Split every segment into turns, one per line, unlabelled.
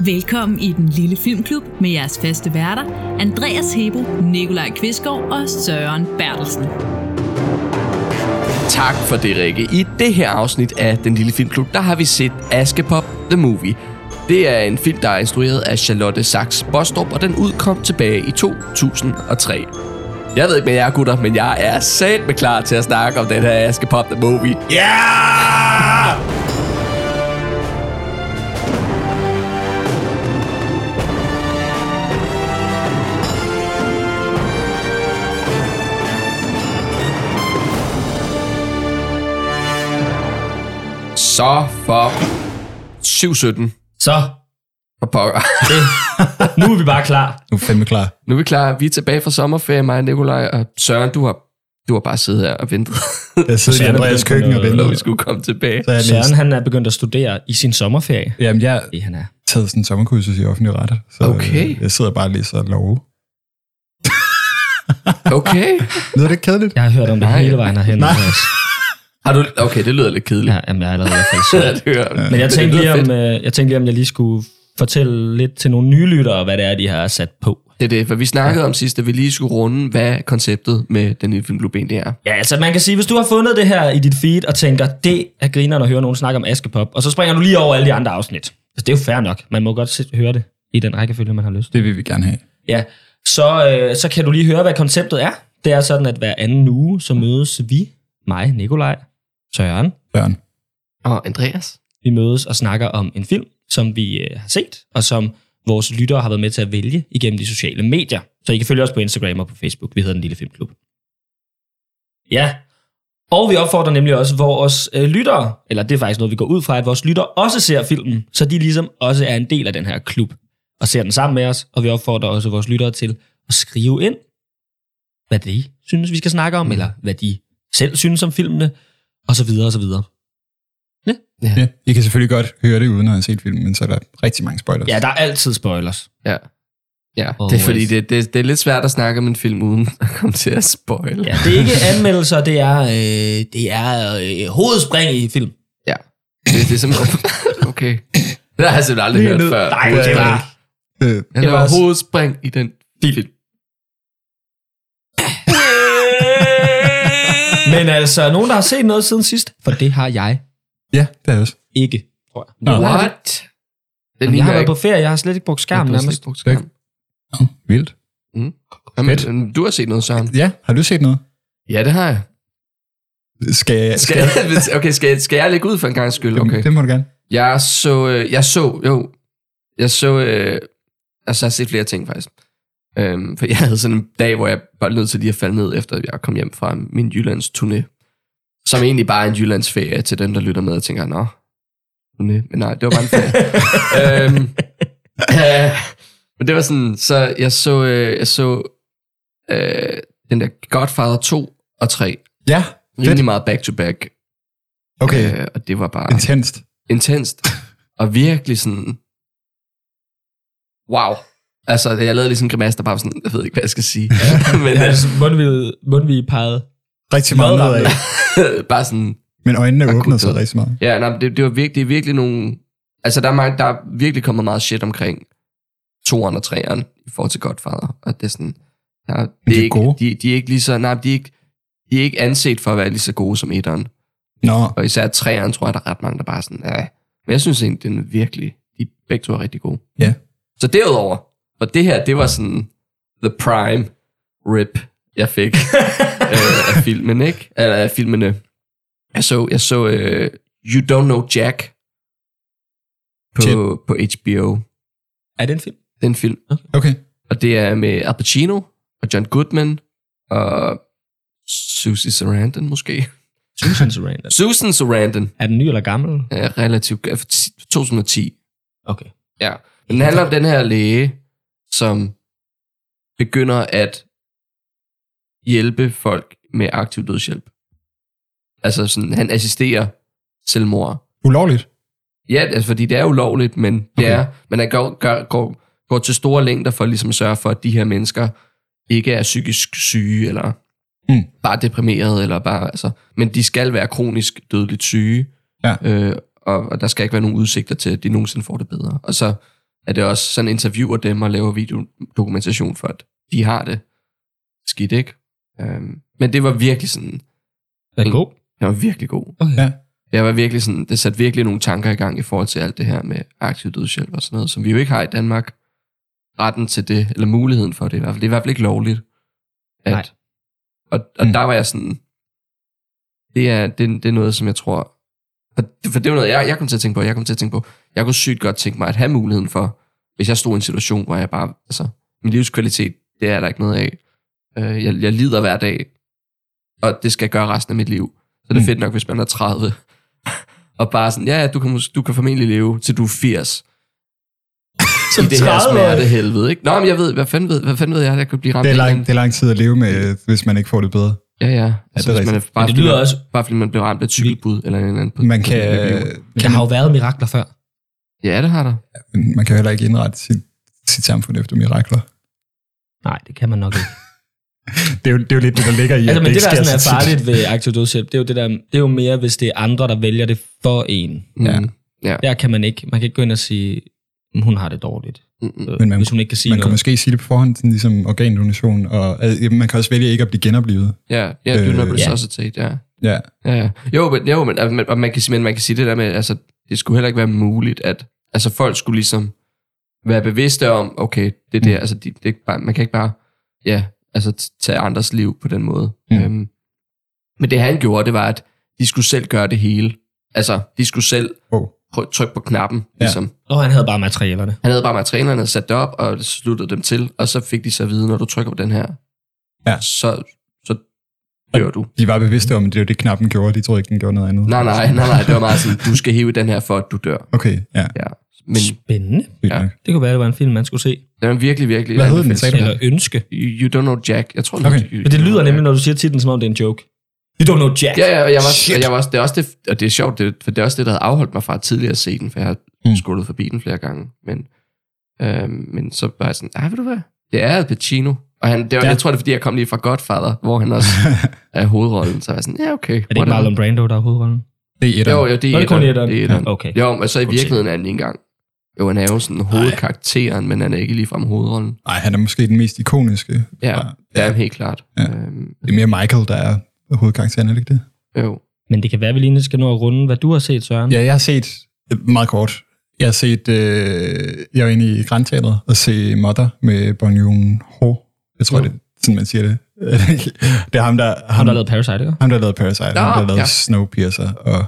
Velkommen i den lille filmklub med jeres faste værter, Andreas Hebo, Nikolaj Kvistgaard og Søren Bertelsen.
Tak for det, Rikke. I det her afsnit af Den Lille Filmklub, der har vi set Askepop The Movie. Det er en film, der er instrueret af Charlotte Sachs Bostrup, og den udkom tilbage i 2003. Jeg ved ikke med jer, gutter, men jeg er sat med klar til at snakke om den her Askepop The Movie.
Ja!
Så for 717
Så,
for pokker.
det. nu er vi bare klar.
Nu er vi fandme klar.
Nu er vi klar. Vi er tilbage fra sommerferie, mig og Nikolaj og Søren. Du har, du har bare siddet her og ventet,
Jeg sidder i
Søren er
Andreas
begyndt på
køkken og
noget-
venter.
når vi skulle komme tilbage.
Så er jeg
Søren
læst.
han er begyndt at studere i sin sommerferie.
Jamen, jeg
Det han er.
har taget sådan en sommerkursus i offentlig ret. Så øh,
Okay.
jeg sidder bare og læser lov.
Okay.
Lyder det ikke kedeligt?
Jeg har hørt om det
Nej.
hele vejen herhen.
Nej.
også.
Har du... Okay, det lyder lidt kedeligt.
Ja, jamen, jeg er allerede i hvert fald
Ja.
så.
det hører
Men jeg
det
tænkte,
lyder
lige om,
fedt.
øh, jeg tænkte lige, om jeg lige skulle fortælle lidt til nogle nye lyttere, hvad det er, de har sat på.
Det er det, for vi snakkede ja. om sidst, at vi lige skulle runde, hvad konceptet med den nye film Blue Bean, det er.
Ja, altså man kan sige, hvis du har fundet det her i dit feed og tænker, det er grineren at høre nogen snakke om Askepop, og så springer du lige over alle de andre afsnit. Altså, det er jo fair nok. Man må godt se- høre det i den rækkefølge, man har lyst.
Det vil vi gerne have.
Ja, så, øh, så kan du lige høre, hvad konceptet er. Det er sådan, at hver anden uge, så mødes vi, mig, Nikolaj, Søren.
Søren.
Og Andreas?
Vi mødes og snakker om en film, som vi øh, har set, og som vores lyttere har været med til at vælge igennem de sociale medier. Så I kan følge os på Instagram og på Facebook. Vi hedder Den Lille Filmklub. Ja, og vi opfordrer nemlig også vores øh, lyttere, eller det er faktisk noget, vi går ud fra, at vores lyttere også ser filmen, så de ligesom også er en del af den her klub, og ser den sammen med os, og vi opfordrer også vores lyttere til at skrive ind, hvad de synes, vi skal snakke om, eller hvad de selv synes om filmene, og så videre og så videre.
Ja. I kan selvfølgelig godt høre det, uden at have set filmen, men så er der rigtig mange spoilers.
Ja, der er altid spoilers.
Ja. Ja, det
Always.
er fordi, det, det, det er lidt svært at snakke om en film, uden at komme til at spoil.
Ja, det er ikke anmeldelser, det er, øh, det er øh, hovedspring i film.
ja. Det, det er simpelthen... Okay. Det har jeg simpelthen aldrig hørt før.
Nej,
Hovedspring.
det var...
Øh,
Ja,
det
der
var
var
også-
hovedspring i den film.
Men altså, nogen, der har set noget siden sidst, for det har jeg
ja, det er det også.
ikke, tror jeg.
Nå.
What? Den
Jamen, jeg har
ligner
været
ikke...
på ferie, jeg har slet ikke brugt skærmen nærmest.
Skærm.
Nå, vildt. Fedt.
Jamen, du har set noget, Søren.
Ja, har du set noget?
Ja, det har jeg.
Skal jeg?
Skal jeg, okay, skal, jeg- skal jeg lægge ud for en gang skyld?
Jamen,
Okay.
Det må du gerne.
Jeg så, øh, jeg så, jo, jeg så, øh, altså jeg har set flere ting faktisk. Øhm, for jeg havde sådan en dag, hvor jeg var nødt til lige at falde ned, efter jeg kom hjem fra min Jyllands turné. Som egentlig bare er en Jyllands ferie til dem, der lytter med og tænker, nå, turné. Men nej, det var bare en ferie. øhm, øh, men det var sådan, så jeg så, øh, jeg så øh, den der Godfather 2 og 3.
Ja,
Rimelig meget back-to-back.
okay.
Øh, og det var bare
Intenst.
intenst, og virkelig sådan, wow. Altså, jeg lavede lige sådan en grimasse, der bare var sådan, jeg ved ikke, hvad jeg skal sige. Men
Ja, altså, mundvig, mundvig pegede.
Rigtig meget
Madrammen.
nedad.
øh, bare sådan,
Men øjnene
Akut
åbner sig
død.
rigtig meget.
ja, nej, det, det, var virkelig, det er virkelig nogle, altså der er, mange, der er virkelig kommet meget shit omkring toeren og treeren i forhold til Godfather, og det er sådan, ja, det
de er
ikke,
gode.
De, de, er ikke lige så, nej, de er ikke, de er ikke anset for at være lige så gode som etteren.
Nå,
Og især treeren, tror jeg, der er ret mange, der bare er sådan, ja. Men jeg synes egentlig, den er virkelig, de begge to er rigtig gode.
Ja.
Så derudover, for det her, det var sådan the prime rip, jeg fik øh, af filmen, ikke? Eller af filmene. Jeg så, jeg så øh, You Don't Know Jack
Shit.
på, på HBO,
Er det en film?
den film.
okay.
Og det er med Al Pacino og John Goodman og Susie Sarandon måske.
Susan Sarandon.
Susan Sarandon.
altså. Er den ny eller gammel?
er relativt er fra 2010.
Okay.
Ja. Den handler om den her læge, som begynder at hjælpe folk med aktiv dødshjælp. Altså sådan, han assisterer selvmord.
Ulovligt.
Ja, altså, fordi det er ulovligt, men det
Okay.
er, men han går, gør, går, går til store længder for at ligesom at sørge for, at de her mennesker ikke er psykisk syge, eller
Mm.
bare deprimeret, eller bare, altså, men de skal være kronisk dødeligt syge,
Ja.
øh, og, og der skal ikke være nogen udsigter til, at de nogensinde får det bedre. Og så at det også sådan interviewer dem og laver videodokumentation for, at de har det skidt, ikke? Øhm, men det var virkelig sådan,
Er det
Mm.
god?
den var virkelig god.
Ja.
Jeg var virkelig sådan, det satte virkelig nogle tanker i gang i forhold til alt det her med aktiv dødshjælp og sådan noget, som vi jo ikke har i Danmark. Retten til det, eller muligheden for det i hvert fald. Det er i hvert fald ikke lovligt. At,
Nej.
Og, og
Mm.
mm. der var jeg sådan, det er, det, det er noget, som jeg tror, for, for det var noget, jeg, jeg kom til at tænke på, jeg kom til at tænke på, jeg kunne sygt godt tænke mig at have muligheden for, hvis jeg stod i en situation, hvor jeg bare, altså, min livskvalitet, det er der ikke noget af. Øh, jeg, jeg lider hver dag, og det skal jeg gøre resten af mit liv. Så det er
Mm.
fedt nok, hvis man er 30, og bare sådan, ja, ja, du kan, mås- du kan formentlig leve, til du er 80.
Som
I det her
30-årig.
smerte helvede, ikke? Nå, men jeg ved, hvad fanden ved, hvad fanden ved jeg, at jeg kan blive ramt
Det er,
af
lang,
en-
det er lang tid at leve med, øh, hvis man ikke får det bedre.
Ja, ja. Altså,
det er
hvis man er, bare,
Men det
fordi
lyder
man-
også,
bare fordi man blev ramt af et cykelbud, eller en eller anden... på-
Man kan,
på- på-
der har jo været mirakler før.
Ja, det har der.
men man kan heller ikke indrette sit, sit samfund efter mirakler.
Nej, det kan man nok ikke.
Det er jo, det er jo lidt det, der ligger i,
altså,
at
men det,
ikke
der
sker
sådan er
så tit.
farligt ved aktiv dødshjælp, det er jo, det der, det er jo mere, hvis det er andre, der vælger det for en.
Ja.
Mm.
Der kan man ikke, man kan ikke gå ind og sige, "Mm, hun har det dårligt,
Mm-mm.
øh,
Men man-
hvis hun ikke kan sige
Man kan
noget.
måske sige det på forhånd, sådan ligesom organdonation, og øh, jamen, man kan også vælge ikke at blive genoplevet.
Ja, ja, do
Øh,
not
ja.
resuscitate, ja.
Ja,
Ja, ja. Jo, men, jo, men, altså, men, og man kan, sige- men man kan sige det der med, altså, det skulle heller ikke være muligt, at altså, folk skulle ligesom være bevidste om, okay, det
Mm.
der, altså, de, det er ikke bare, man kan ikke bare, ja, altså, t- tage andres liv på den måde.
Mm.
Mm. Øhm, men det han gjorde, det var, at de skulle selv gøre det hele. Altså, de skulle selv
wow.
prø- trykke på knappen,
Ja.
ligesom.
Og han havde bare materialerne.
Han havde bare materialerne sat det op, og sluttede dem til, og så fik de så at vide, når du trykker på den her,
Ja.
så, så dør du.
De var bevidste om, at det var det, knappen gjorde. De troede ikke, den gjorde noget andet.
Nej, nej, nej, nej, det var meget sådan, du skal hive i den her, for at du dør.
Okay, ja.
Ja, men
Spændende.
vildt
Ja.
nok.
Det kunne være, det var en film, man skulle se.
den er virkelig, virkelig...
Hvad hed den, sagde
anbefales.
Eller ønske.
You, you don't know Jack. Jeg tror, den
Okay.
hedder You
Men det
Don't
lyder
Know
nemlig,
Jack.
når du siger titlen, som om det er en joke. You don't know Jack.
Ja, ja, og jeg var,
Shit.
og jeg var også, det er også det, og det er sjovt, det, for det er også det, der havde afholdt mig fra at tidligere se den, for jeg har
Mm.
Hmm.
mm. skullet forbi den flere gange. Men, øh, men så var jeg sådan, ah, ved du hvad? Det er Al Pacino. Og han, det var,
Ja.
ja. jeg tror, det er, fordi jeg kom lige fra Godfather, hvor han også er hovedrollen. Så var jeg sådan, ja, okay.
Er det ikke Marlon Brando, der er hovedrollen?
Det er et
Jo, jo, det
Nå,
er
det er kun
etteren.
etteren.
Det er etteren.
Okay.
Jo, men så i virkeligheden er han ikke engang. Jo, han er jo sådan hovedkarakteren, men han er ikke ligefrem hovedrollen.
Nej, han er måske den mest ikoniske.
Ja, det er han helt klart.
Ja.
Øhm,
Det er mere Michael, der er hovedkarakteren, er det ikke det?
jo.
Men det kan være, at vi lige skal nå at runde, hvad du har set, Søren.
Ja, jeg har set, øh, meget kort, jeg har set, øh, jeg var inde i Grand Teateret og se Mother med Bong Joon-ho. Jeg tror,
Jo.
det er sådan, man siger det. det er ham, der, ham,
Ham, der lavede Parasite, ikke?
ham, der lavede Parasite,
Nå,
ham, der lavede
ja.
Snowpiercer og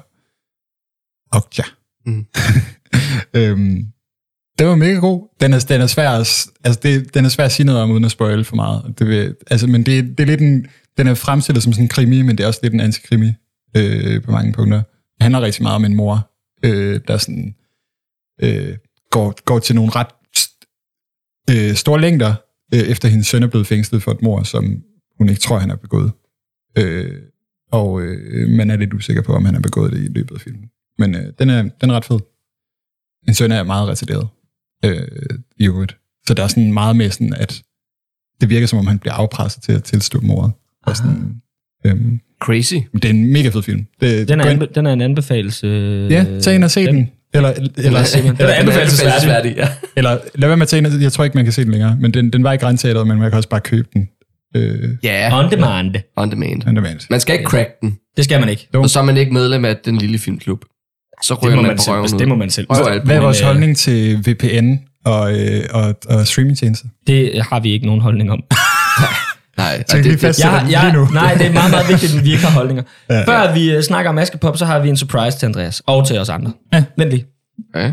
Okja.
Mm.
øhm, det var mega god. Den er, den er svær, at s- altså det, den er svær at sige noget om, uden at spoil for meget. Det vil, altså, men det, det er lidt en, den er fremstillet som sådan en krimi, men det er også lidt en antikrimi øh, på mange punkter. Det handler rigtig meget om en mor, øh, der sådan, øh, går, går til nogle ret øh, store længder, øh, efter hendes søn er blevet fængslet for et mor, som hun ikke tror, han har begået. Øh, og øh, man er lidt usikker på, om han har begået det i løbet af filmen. Men øh, den, er, den er ret fed. En søn er meget retarderet øh, i øvrigt. Så der er sådan meget med sådan, at det virker som om, han bliver afpresset til at tilstå mordet. Og sådan, øhm,
Crazy.
det er en mega fed film. Det,
Den er,
gå ind-
anbe- den er en anbefalelse.
Ja, tag ind og se den. Eller, eller,
er simpelthen- den er
eller,
anbefalesværdig.
ja.
eller lad være med at tage ind og Jeg tror ikke, man kan se den længere, men den, den var i grænteateret, men man kan også bare købe den. Øh,
Ja,
On demand.
on demand.
on demand.
Man skal ikke crack den,
Det skal man ikke.
og så er man ikke medlem af den lille filmklub. Så ryger
Det må
man,
man,
på
selv,
røven
altså,
ud.
det må man selv.
Røv alt
Hvad er
muligt.
vores
øh,
holdning til VPN og, øh, og, og streamingtjenester?
Det har vi ikke nogen holdning om.
Nej,
Så
og
vi fast-
Jeg,
Sætter den
jeg,
lige nu.
nej, det er meget, meget vigtigt, at vi ikke har holdninger. Før vi øh, snakker om Askepop, så har vi en surprise til Andreas. Og til os andre.
Ja.
Vent lige.
Ja.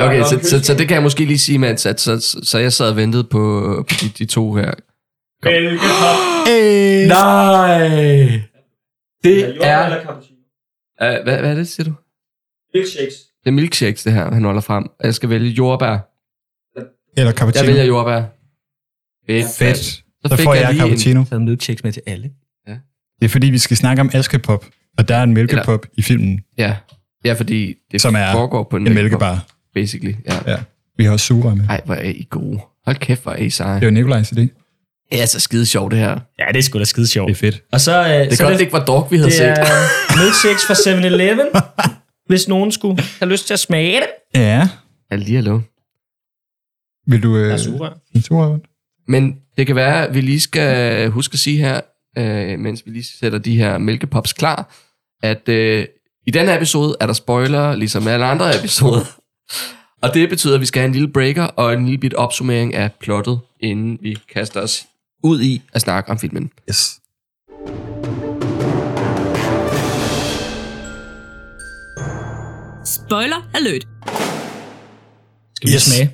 Okay, så, så, så det kan jeg måske lige sige, mens at, så, så, så jeg sad og ventede på, på de, de to her.
Hey!
Nej!
Det er... Uh, hvad, hvad er det, siger du?
Milkshakes.
Det er milkshakes, det her, han holder frem. Og Jeg skal vælge jordbær.
Eller
Jeg
cappuccino.
vælger jordbær. Fedt.
Fedt.
Så,
Så
fik
får jeg,
lige
cappuccino.
Jeg har milkshakes med til alle.
Det er fordi, vi skal snakke om Askepop, og der er en mælkepop i filmen,
En, ja. ja, fordi det
Som er
foregår på en,
en
mælkebar,
mælkebar.
basically. Ja.
Ja. Vi har også sura med.
Ej, hvor er I gode. Hold kæft, hvor er I seje.
Det er jo Nikolajs idé.
Det er så skide sjovt, det her. Det
Ja, det er sgu da skide sjovt.
Det er fedt.
Og så, øh,
er
så
godt, det ikke var dog, vi havde
det er
set.
milkshakes fra 7-Eleven. hvis nogen skulle have lyst til at smage det.
Ja.
Alligevel.
Vil du... Øh,
Der er sugerør.
en sugerør?
Men det kan være, at vi lige skal huske at sige her, øh, mens vi lige sætter de her mælkepops klar, at øh, i denne episode er der spoiler, ligesom alle andre episoder. Og det betyder, at vi skal have en lille breaker og en lille bit opsummering af plottet, inden vi kaster os ud i at snakke om filmen.
Yes.
Spoiler alert!
Skal vi yes.
Yes.
smage?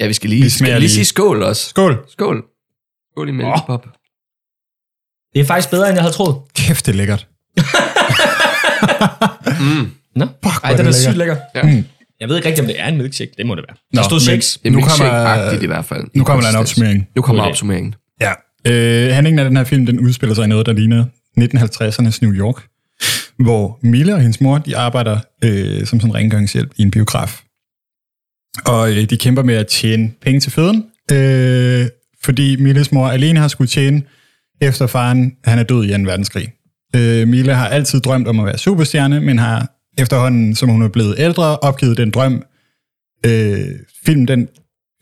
Ja, vi skal lige,
Vi
vi
smager
skal lige,
lige.
lige sige skål også.
Skål.
Skål. Skål i mælkepop.
Det er faktisk bedre, end jeg havde troet.
Kæft, det er lækkert.
Mm.
Nå,
Fuck,
Ej,
hvor
den
er
er
det
sygt
lækkert.
lækker.
Ja.
Mm.
Jeg ved ikke rigtig, om det er en milkshake. Det må det være.
Nå,
der stod
men-
seks.
Det er
Nu kommer-
milkshake-agtigt i hvert fald.
Nu kommer der en
Konsistens.
opsummering.
Nu kommer
Okay.
opsummeringen.
Ja. Øh, handlingen af den her film, den udspiller sig i noget, der ligner 1950'ernes New York, hvor Mille og hendes mor, de arbejder øh, som sådan rengøringshjælp i en biograf. Og øh, de kæmper med at tjene penge til føden, øh, fordi Milles mor alene har skulle tjene, efter faren han er død i 2. verdenskrig. Øh, Mille har altid drømt om at være superstjerne, men har efterhånden, som hun er blevet ældre, opgivet den drøm. Øh, film, den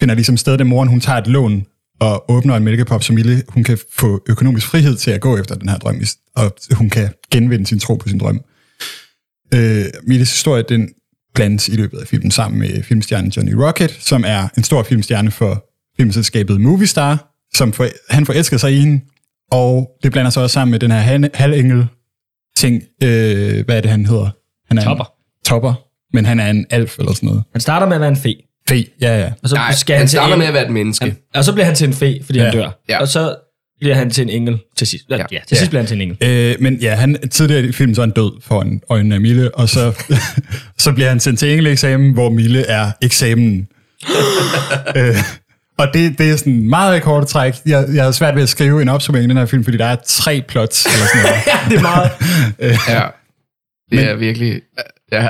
finder ligesom sted, da moren hun tager et lån og åbner en mælkepop, så Mille hun kan få økonomisk frihed til at gå efter den her drøm, i- og hun kan genvinde sin tro på sin drøm. Øh, Milles historie, den blandes i løbet af filmen sammen med filmstjernen Johnny Rocket, som er en stor filmstjerne for filmselskabet Movistar, som for, han forelsker sig i hende, og det blander sig også sammen med den her han- halvengel ting, øh, hvad er det, han hedder? Han er
Topper.
En, topper, men han er en alf eller sådan noget.
Han starter med at være en fe,
Fe, ja, ja.
og så,
Nej,
skal han
han
til
starter
en-
med at være et menneske.
han, og så bliver han til en fe, fordi ja. han
Ja.
dør.
Ja.
Og så bliver han til en engel til sidst. Ja, ja.
Ja.
til sidst bliver han til en engel.
Øh, men ja, han, tidligere i filmen så er han død foran øjnene af Mille, og så, så bliver han sendt til engeleksamen, hvor Mille er eksamen. øh, og det, det er sådan meget i korte træk. Jeg, jeg havde svært ved at skrive en opsummering i den her film, fordi der er tre plots. Eller sådan noget.
Ja, det er meget.
Ja. Det er virkelig... Ja.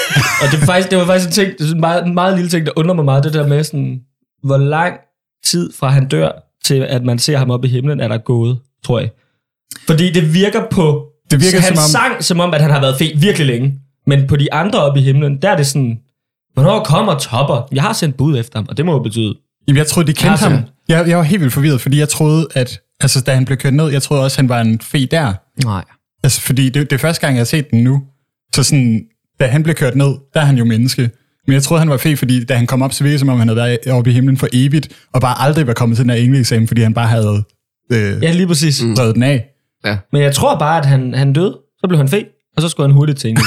og det, er faktisk, det var faktisk en, ting, det er sådan en, meget, en meget lille ting, der undrer mig meget, det der med, sådan, hvor lang tid fra han dør, til at man ser ham oppe i himlen, er der gået, tror jeg. Fordi det virker på
Det virker
han
som om-
sang, som om, at han har været fe virkelig længe. Men på de andre oppe i himlen, der er det sådan, hvornår kommer Topper? Jeg har sendt bud efter ham, og det må jo betyde,
Jamen, jeg troede, de kendte
Altså-
ham. Jeg, jeg var helt vildt forvirret, fordi jeg troede, at altså, da han blev kørt ned, jeg troede også, han var en fe der.
nej,
Altså, fordi det, det er første gang, jeg har set den nu. Så sådan, da han blev kørt ned, der er han jo menneske. Men jeg troede, han var fe, fordi da han kom op, så virkede det, som om han havde været oppe i himlen for evigt, og bare aldrig var kommet til den her engleeksamen, fordi han bare havde øh,
Ja, lige præcis. Mm.
drevet den af.
Men jeg tror bare, at han, han døde, så blev han fe, og så skulle han hurtigt til England.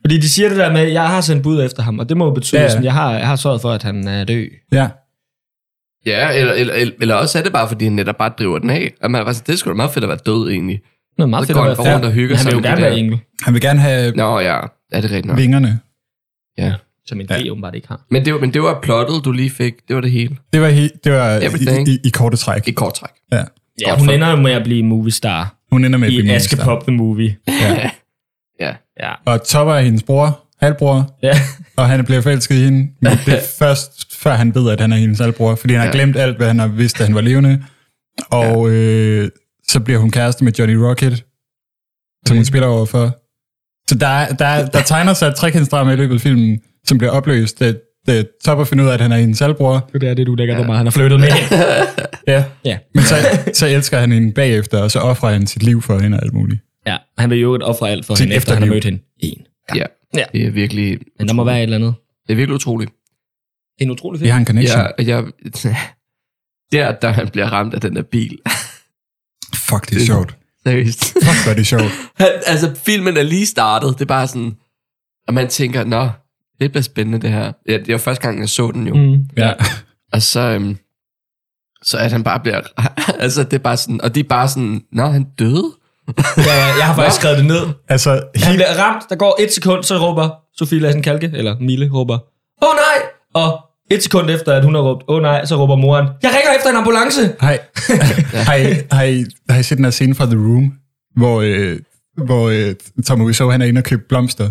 Fordi de siger det der med, at jeg har sendt bud efter ham, og det må jo betyde,
Ja,
ja.
ja.
at jeg har, jeg har sørget for, at han øh, er død.
Ja.
Ja, eller, eller, eller, eller også er det bare, fordi han netop bare driver den af. At man, altså, det skulle da meget fedt at være død, egentlig.
Det er meget
Så
fedt
går
at
han
være
rundt
fe.
og hygger
Men Han
sig
vil jo
med
gerne
det
være
der.
engel,
Han vil gerne have
Nå ja, er det rigtigt nok?
vingerne.
Ja.
som en
Ja.
ja. åbenbart ikke har.
Men det, var- men det var plottet, du lige fik. Det var det hele.
Det var, he, det var
Everything.
i, i, i, korte træk.
I kort træk.
Ja.
Ja,
Godt
hun
for-
ender jo med at blive movie star
Hun ender med at
i
blive monster.
Askepop the Movie.
Ja.
Ja.
Ja.
Og Topper er hendes bror, halvbror,
ja.
og han bliver forelsket i hende, men det er først, før han ved, at han er hendes halvbror, fordi han har
Ja.
glemt alt, hvad han har vidst, da han var levende. Og øh, så bliver hun kæreste med Johnny Rocket, som hun spiller overfor. Så der, er- der, er- der tegner sig et trekantsdrama i løbet af filmen, som bliver opløst, da, da Topper finder ud af, at han er hendes halvbror.
Det er det, du lægger ja. mig. Han har flyttet med.
Ja.
ja.
Men så, så elsker han hende bagefter, og så offrer han sit liv for hende og alt muligt.
ja. Han vil jo et ofre alt for
Sin
hende, efter han har
efterliv.
mødt hende. En.
Ja.
Ja.
Det er virkelig...
Men der må være et eller andet.
Det er virkelig utroligt.
Det er en utrolig
Vi
film.
har en connection.
Jeg, jeg, der, da han bliver ramt af den der bil.
Fuck, det er sjovt.
Seriøst.
Fuck, hvor er det sjovt.
Han, altså, filmen er lige startet. Det er bare sådan... Og man tænker, nå, det bliver spændende, det her. Ja, det var første gang, jeg så den jo. Mm.
Mm.
Ja.
Og så... Øhm, så at han bare bliver... altså, det er bare sådan... Og det er bare sådan... Nå, han døde?
Ja, ja, jeg har faktisk skrevet det ned.
Altså,
Han
helt
bliver ramt, der går et sekund, så råber Sofie Lassen Kalke, eller Mille, råber, åh oh, nej! Og et sekund efter, at hun har råbt, åh oh, nej, så råber moren, jeg ringer efter en ambulance!
Hej. har, I, har, I, har I set den her scene fra The Room, hvor, øh, hvor øh, Tom Wiseau, han er inde og købe blomster?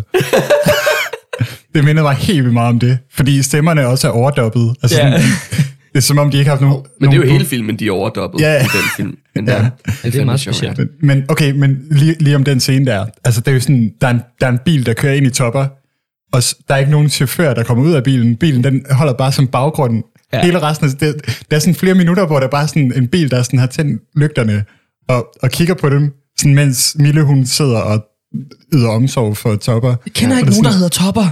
det mindede mig helt vildt meget om det, fordi stemmerne også er overdoppet. Altså,
Ja.
sådan, det er som om, de ikke har haft nogen...
Men det er jo
nogen-
hele filmen, de er overdoppet
Ja, ja.
i den film. Men den der.
Ja.
Det,
det er
fandme
meget
sjovt,
specielt.
ja.
Men, men okay, men lige, lige om den scene der, altså det er jo sådan, der er, en, der er en bil, der kører ind i topper, og s- der er ikke nogen chauffør, der kommer ud af bilen. Bilen, den holder bare som baggrunden. Ja. Hele resten, af, det, der er sådan flere minutter, hvor der bare er sådan en bil, der sådan har tændt lygterne og, og kigger på dem, sådan mens Mille, hun sidder og yder omsorg for topper. Jeg
Kender ikke nogen, der hedder Topper.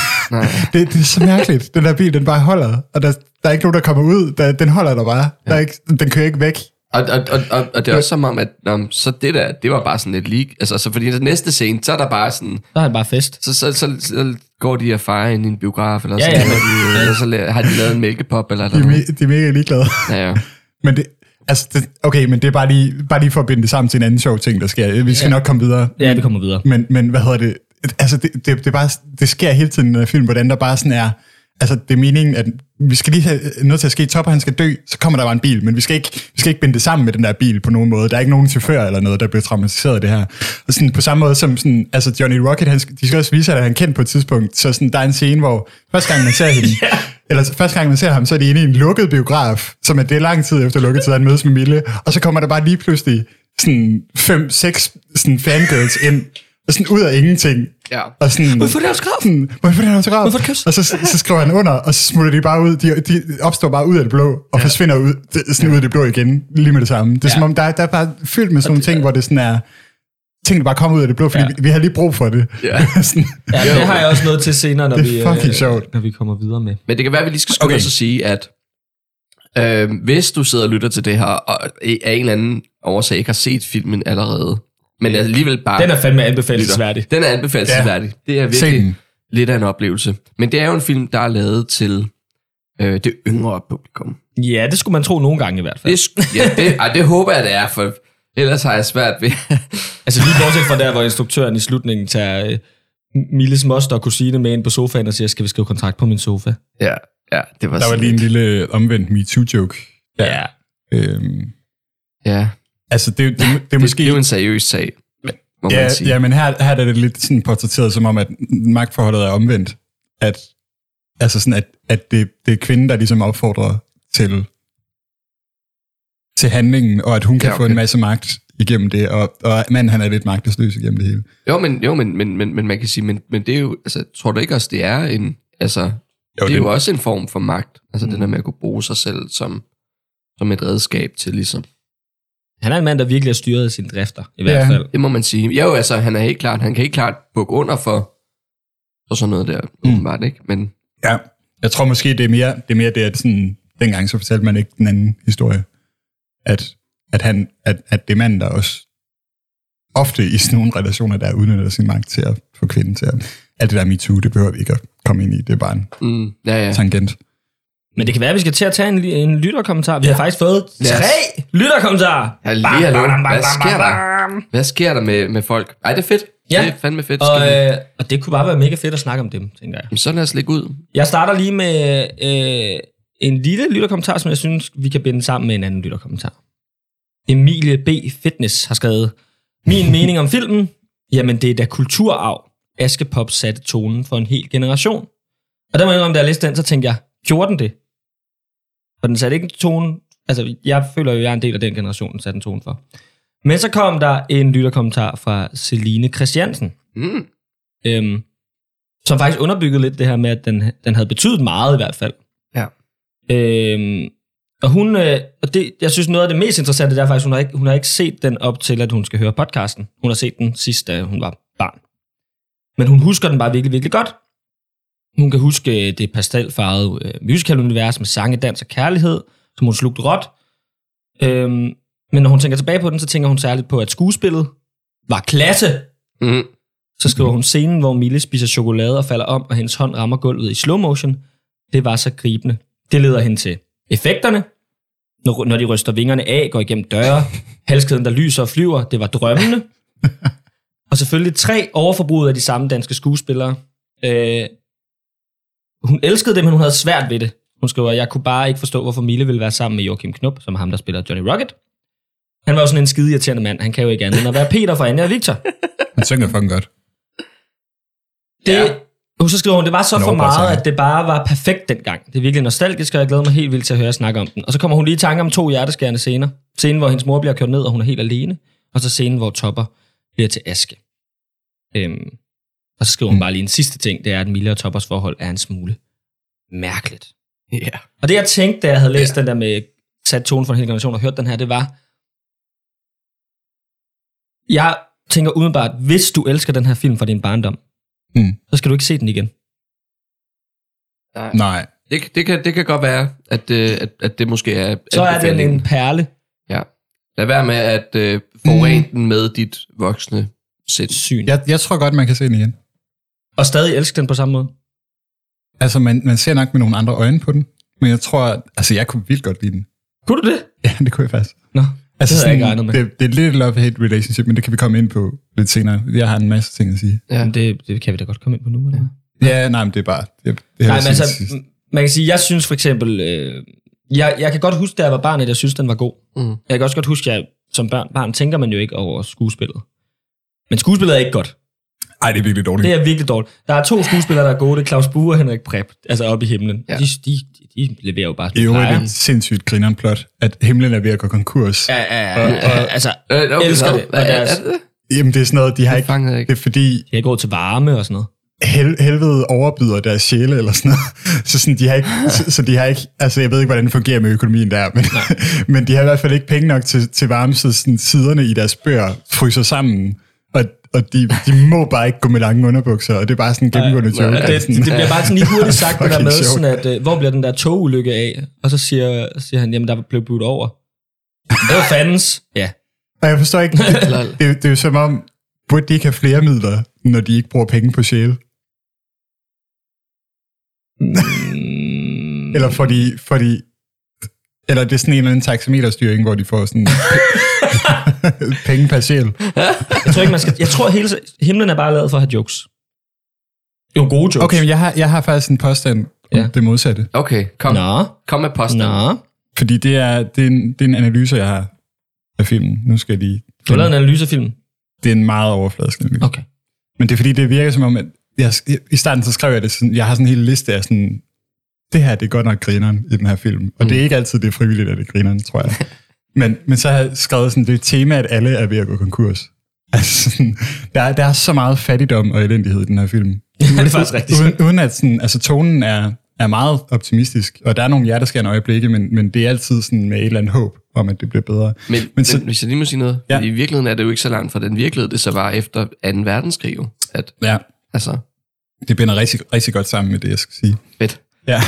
det, det er så mærkeligt. Den der bil, den bare holder, og der, der er ikke nogen, der kommer ud. Der, den holder der bare. Ja. Der er ikke, den kører ikke væk.
Og, og, og, og, og det er også som om, at nå, men så det der, det var bare sådan lidt leak. Altså, så fordi den næste scene, så er der bare sådan,
Der er han bare fest.
så, så, så, så går de og fejrer ind i en biograf, eller,
Ja,
sådan,
ja.
eller, de, eller så la- har de lavet en mælkepop, eller,
De er,
eller noget.
me, de er mega ligeglade.
Ja, ja.
Men det, altså, det, okay, men det er bare lige, bare lige for at binde det sammen til en anden sjov ting, der sker. Vi skal ja. nok komme videre.
Ja, vi kommer videre.
Men, men hvad hedder det? Altså, det, det, det, er bare, det sker hele tiden i den her film, hvordan der bare sådan er... Altså, det er meningen, at vi skal lige have noget til at ske. Topper, han skal dø, så kommer der bare en bil, men vi skal, ikke, vi skal ikke binde det sammen med den der bil på nogen måde. Der er ikke nogen chauffør eller noget, der bliver traumatiseret af det her. Og sådan, på samme måde som sådan, altså Johnny Rocket, han, skal- de skal også vise, at han er kendt på et tidspunkt. Så sådan, der er en scene, hvor første gang man ser hende, eller første gang man ser ham, så er det inde i en lukket biograf, som er det er lang tid efter lukketid, han mødes med Mille. Og så kommer der bare lige pludselig sådan fem, seks sådan fangirls ind, og sådan ud af ingenting.
Ja.
Og sådan, må jeg få det autograf? Sådan, må jeg få det autograf? Må
jeg få et kys?
Og så, så skriver han under, og så smutter de bare ud. De, de opstår bare ud af det blå, og ja. forsvinder ud, det, sådan ud af det blå igen, lige med det samme. Det er ja. som om, der, er- der er bare fyldt med sådan nogle ting, hvor det sådan er, ting, der bare kommer ud af det blå, fordi
Ja.
ja. vi, vi har lige brug for det.
Ja.
sådan,
Ja,
Jo.
det har jeg også noget til senere, når,
Det er
vi, øh,
fucking sjovt.
når vi kommer videre med.
Men det kan være, at vi lige skal skynde
Okay.
okay. os og sige, at øh, hvis du sidder og lytter til det her, og af en eller anden årsag ikke har set filmen allerede, men alligevel bare...
Den er fandme anbefalesværdig.
Den er anbefalesværdig. Ja. Det er
Se
virkelig
den.
lidt af en oplevelse. Men det er jo en film, der er lavet til øh, det yngre publikum.
Ja, det skulle man tro nogle gange i hvert fald.
Det, sk- ja, det, ej, det håber jeg, det er, for ellers har jeg svært ved...
Altså lige bortset fra der, hvor instruktøren i slutningen tager øh, Milles moster og kusine med ind på sofaen og siger, skal vi skrive kontrakt på min sofa?
ja, ja, det var
Der var
sådan
lige en
lidt-
lille omvendt MeToo-joke.
Ja.
Øhm,
Ja,
altså, det, det, det, det
måske...
er
det,
måske...
er jo en seriøs sag, må
Ja,
man sige.
ja, men her, her er det lidt sådan portrætteret som om, at magtforholdet er omvendt. At, altså sådan, at, at det, det er kvinden, der ligesom opfordrer til, til handlingen, og at hun kan
Ja,
ja, okay. få
okay.
en masse magt igennem det, og, og manden han er lidt magtesløs igennem det hele.
Jo, men, jo men, men, men, men man kan sige, men, men det er jo, altså, tror du ikke også, det er en, altså, jo, det er
det-
jo også en form for magt, altså mm. den der med at kunne bruge sig selv som, som et redskab til ligesom,
Han er en mand, der virkelig har styret sine drifter, i hvert
Ja.
fald.
det må man sige. Jo, altså, han er helt klart, han kan helt klart bukke under for, for sådan noget der, mm. åbenbart, ikke? Men
Ja, jeg tror måske, det er mere det, er mere det at sådan, dengang så fortalte man ikke den anden historie, at, at, han, at, at det er manden, der også ofte i sådan nogle relationer, der udnytter sin magt til at få kvinden til at... Alt det der MeToo, det behøver vi ikke at komme ind i, det er bare en
mm, ja, ja.
tangent.
Men det kan være, at vi skal til at tage en, li- en lytterkommentar. Vi har faktisk fået
Lad os-
tre lytterkommentarer.
Hallo,
Bam,
hallo.
bam, bam,
Hvad
bam,
sker
bam,
der?
bam.
Hvad sker der med, med folk? Ej, det er fedt.
Ja.
Det er fandme fedt.
Og,
Skal vi-
øh, og det kunne bare være mega fedt at snakke om dem, tænker jeg.
Jamen, så lad os lægge ud.
Jeg starter lige med øh, en lille lytterkommentar, som jeg synes, vi kan binde sammen med en anden lytterkommentar. Emilie B. Fitness har skrevet, Min mening om filmen? Jamen, det er da kulturarv. Askepop satte tonen for en hel generation. Og der må jeg indrømme, da jeg læste den, så tænkte jeg, gjorde den det? For den satte ikke en tone... Altså, jeg føler jo, jeg er en del af den generation, den satte en tone for. Men så kom der en lytterkommentar fra Celine Christiansen
Mm.
øhm, som faktisk underbyggede lidt det her med, at den, den havde betydet meget i hvert fald.
Ja.
Øhm, og hun, øh, og det, jeg synes noget af det mest interessante, det er faktisk, hun har ikke, hun har ikke set den op til, at hun skal høre podcasten. Hun har set den sidst, da hun var barn. Men hun husker den bare virkelig, virkelig godt. Hun kan huske øh, det pastelfarvede øh, musical-univers med sange, dans og kærlighed, som hun slugte råt. Øhm, men når hun tænker tilbage på den, så tænker hun særligt på, at skuespillet var klasse.
Mm.
Så skriver hun scenen, hvor Mille spiser chokolade og falder om, og hendes hånd rammer gulvet i slow motion. Det var så gribende. Det leder hende til effekterne. Når, når de ryster vingerne af, går igennem døre. Halskæden, der lyser og flyver. Det var drømmende. og selvfølgelig tre overforbruget af de samme danske skuespillere. Øh, hun elskede det, men hun havde svært ved det. Hun skriver, jeg kunne bare ikke forstå, hvorfor Mille ville være sammen med Joachim Knop, som er ham, der spiller Johnny Rocket. Han var jo sådan en skide irriterende mand. Han kan jo ikke andet end at være Peter fra Anja og Victor.
Han synger fucking godt.
Det, ja. Og så skriver hun, det var så
Nå,
for
bare
meget,
tak.
at det bare var perfekt dengang. Det er virkelig nostalgisk, og jeg glæder mig helt vildt til at høre jer snakke om den. Og så kommer hun lige i tanke om to hjerteskærende scener. Scenen, hvor hendes mor bliver kørt ned, og hun er helt alene. Og så scenen, hvor Topper bliver til aske. Øhm, og så skriver hun
Mm.
bare lige en sidste ting, det er, at Mille og Toppers forhold er en smule mærkeligt.
Ja.
Og det jeg tænkte, da jeg havde læst den der med sat tonen for en hel generation og hørt den her, det var, jeg tænker umiddelbart, hvis du elsker den her film fra din barndom,
Mm.
Hmm. så skal du ikke se den igen.
Nej.
Det, det, kan, det kan godt være, at, øh, at, at det måske er...
Så er den en
anbefalingen.
perle.
Ja. Lad være med at øh, forurene mm. den med dit voksne sind.
Syn. Ja.
Jeg, jeg tror godt, man kan se den igen.
Og stadig elsker den på samme måde.
Altså, man, man ser nok med nogle andre øjne på den, men jeg tror, at, altså, jeg kunne vildt godt lide den.
Kunne du det?
Ja, det kunne jeg faktisk.
Nå,
Altså,
det havde jeg ikke regnet med. Det,
det, det er lidt et love-hate relationship, men det kan vi komme ind på lidt senere. Jeg har en masse ting at sige.
Ja.
det, det kan vi da godt komme ind på nu. Eller? Ja.
Ja, nej, men det er bare... Det, det
Nej, men altså,
altså,
m- man kan sige, jeg synes for eksempel, øh, jeg, jeg kan godt huske, da jeg var barn, at jeg synes, den var god.
Mm.
Jeg kan også godt huske, at jeg, som barn, barn tænker man jo ikke over skuespillet. Men skuespillet er ikke godt.
Ej, det er virkelig dårligt.
mm, Det er virkelig dårligt. Der er to skuespillere, der er gode. Det er Claus Bue og Henrik Preb, altså oppe i himlen. Ja.
Ja.
De, de, de leverer jo bare, som
I
de
øvrigt
plejer.
et sindssygt grineren plot, at himlen er ved at gå konkurs. Ja.
Ja, ja, ja, ja, altså, de
Øh, okay,
elsker
så-
det, og
Hvad er, er
deres-
det? det?
Jamen, det er sådan noget, de har
Jeg
ikke...
fangede jeg ikke.
Det er fordi,
har ikke råd til varme og sådan noget.
hel, helvede overbyder deres sjæle eller sådan noget. Så, sådan, de har ikke, så, så de har ikke... Altså, jeg ved ikke, hvordan det fungerer med økonomien der, men, men de har i hvert fald ikke penge nok til, til varme, så sådan, siderne i deres bøger fryser sammen. Og, og de, de må bare ikke gå med lange underbukser, og det er bare sådan en gennemgående joke.
Ja,
at
det,
sådan-
det, det bliver bare sådan lige hurtigt sagt, det der
Fucking
med,
sjovt.
sådan at, øh, hvor bliver den der togulykke af? Og så siger, siger han, jamen der blev budt over. Det var fandens. Ja.
Og jeg forstår ikke, det, det, det er jo som om, burde de ikke have flere midler, når de ikke bruger penge på sjæle?
Mm,
Eller får de, får de eller det er sådan en eller anden taxameterstyring, hvor de får sådan penge per sjæl.
jeg tror ikke, man skal... Jeg tror, hele himlen er bare lavet for at have jokes. Jo, gode jokes.
Okay, men jeg har, jeg har faktisk en påstand om
Ja.
ja. det modsatte.
Okay, kom.
Nå,
Kom med posten.
nå.
Fordi det er, det, er en, det er en analyse, jeg har af filmen. Nu skal jeg lige...
Du har lavet en analysefilm.
Det er en meget overfladisk analyse.
Okay.
Men det er fordi, det virker som om, at jeg, i starten så skrev jeg det sådan, jeg har sådan en hel liste af sådan, det her det er godt nok grineren i den her film. Og mm. det er ikke altid det er frivilligt, at det er grineren, tror jeg. men, men så har jeg skrevet sådan, det er tema, at alle er ved at gå konkurs. Altså, sådan, der, er, der er så meget fattigdom og elendighed i den her film.
det er faktisk rigtigt.
Uden, uden at sådan, altså tonen er, er meget optimistisk, og der er nogle hjerteskærende øjeblikke, men, men det er altid sådan med et eller andet håb om, at det bliver bedre.
Men, men,
Men så-
men hvis jeg lige må sige noget.
Ja.
Ja. I virkeligheden er det jo ikke så langt fra den virkelighed, det så var efter 2. verdenskrig jo. At,
Ja,
altså,
det binder rigtig, rigtig godt sammen med det, jeg skal sige.
fedt.
Ja.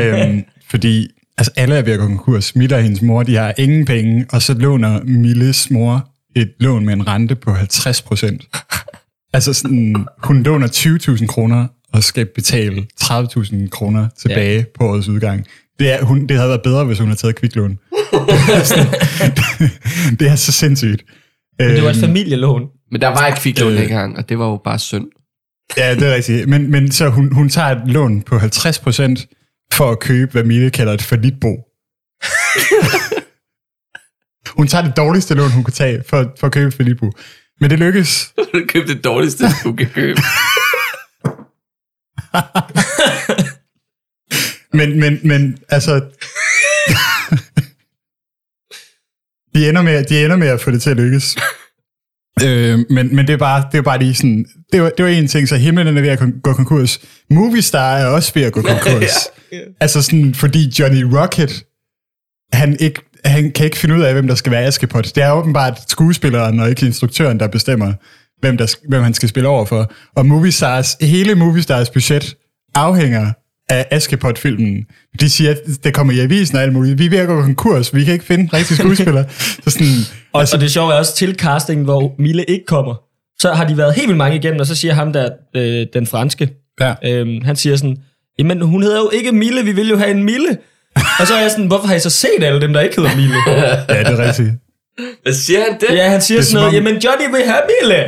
øhm, fordi altså, alle er ved at gå konkurs. Mille og hendes mor, de har ingen penge, og så låner Milles mor et lån med en rente på 50 procent. Altså sådan, hun låner 20.000 kroner og skal betale 30.000 kroner tilbage ja. på årets udgang. Det, er, hun, det havde været bedre, hvis hun havde taget kviklån. det er så sindssygt.
Men det var et familielån.
Men der var ikke kviklån
Øh.
øh. dengang, og det var jo bare synd.
Ja, det er rigtigt. Men, men så hun, hun tager et lån på 50% for at købe, hvad Mille kalder et forlitbo. hun tager det dårligste lån, hun kunne tage for, for at købe et forlitbo. Men det lykkes.
Du købte det dårligste, du kan købe.
Men, men, men altså... de, ender med, de ender med at få det til at lykkes. Øh, men, men det er bare, det er bare lige sådan... Det var, det var en ting, så himlen er ved at kon- gå konkurs. Movistar er også ved at gå konkurs. ja. Altså sådan, fordi Johnny Rocket, han, ikke, han kan ikke finde ud af, hvem der skal være Askepot. Det er åbenbart skuespilleren og ikke instruktøren, der bestemmer, hvem, der, hvem han skal spille over for. Og Movistars, hele Movistars budget afhænger af Askepot-filmen. De siger, at det kommer i avisen og alt muligt. Vi er ved at gå konkurs, vi kan ikke finde rigtige skuespillere. så sådan,
Og, altså, og det sjove er også til castingen, hvor Mille ikke kommer. Så har de været helt vildt mange igennem, og så siger ham der, øh, den franske,
ja.
Øhm, han siger sådan, jamen hun hedder jo ikke Mille, vi vil jo have en Mille. Og så er jeg sådan, hvorfor har I så set alle dem, der ikke hedder Mille?
ja, det er rigtigt.
Hvad siger han det?
ja, han siger
Det er
sådan noget,
som om-
jamen Johnny vil have Mille.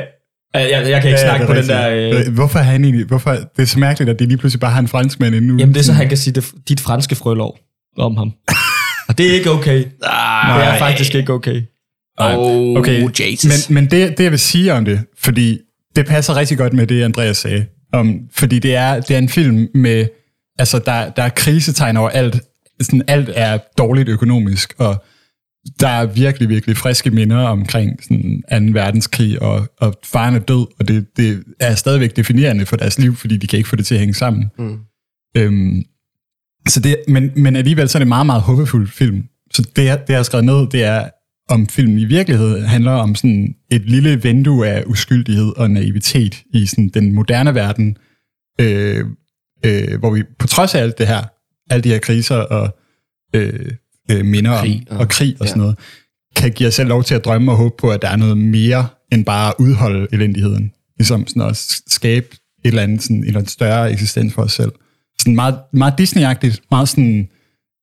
Jeg, jeg, jeg kan ikke ja,
Ja, ja,
snakke
det
på
er
den der...
rigtigt.
Øh,
Hvorfor er han egentlig... Hvorfor, det er så mærkeligt, at de lige pludselig bare har en franskmand endnu.
jamen det er så, han kan sige det, dit franske frølov om ham. Og det er ikke okay.
Ah,
Det er faktisk ikke okay.
Oh, okay. Jesus.
Men, men det, det, jeg vil sige om det, fordi det passer rigtig godt med det, Andreas sagde, Um, fordi det er, det er en film med, altså der, der er krisetegn over alt. Sådan, alt er dårligt økonomisk, og der er virkelig, virkelig friske minder omkring sådan 2. verdenskrig, og, og faren er død, og det, det er stadigvæk definerende for deres liv, fordi de kan ikke få det til at hænge sammen.
Mm.
Øhm, så det, men, men alligevel så er det en meget, meget håbefuld film. Så det, jeg- det, jeg har skrevet ned, det er, om filmen i virkeligheden handler om sådan et lille vindue af uskyldighed og naivitet i sådan den moderne verden, øh, øh, hvor vi på trods af alt det her, alle de her kriser og øh, øh, minder
Krig
om,
og-
og krig og sådan
ja.
noget, kan give os selv lov til at drømme og håbe på, at der er noget mere end bare at udholde elendigheden. Ligesom sådan at s- skabe et eller andet, sådan, en eller andet større eksistens for os selv. Sådan meget, meget Disney-agtigt, meget sådan,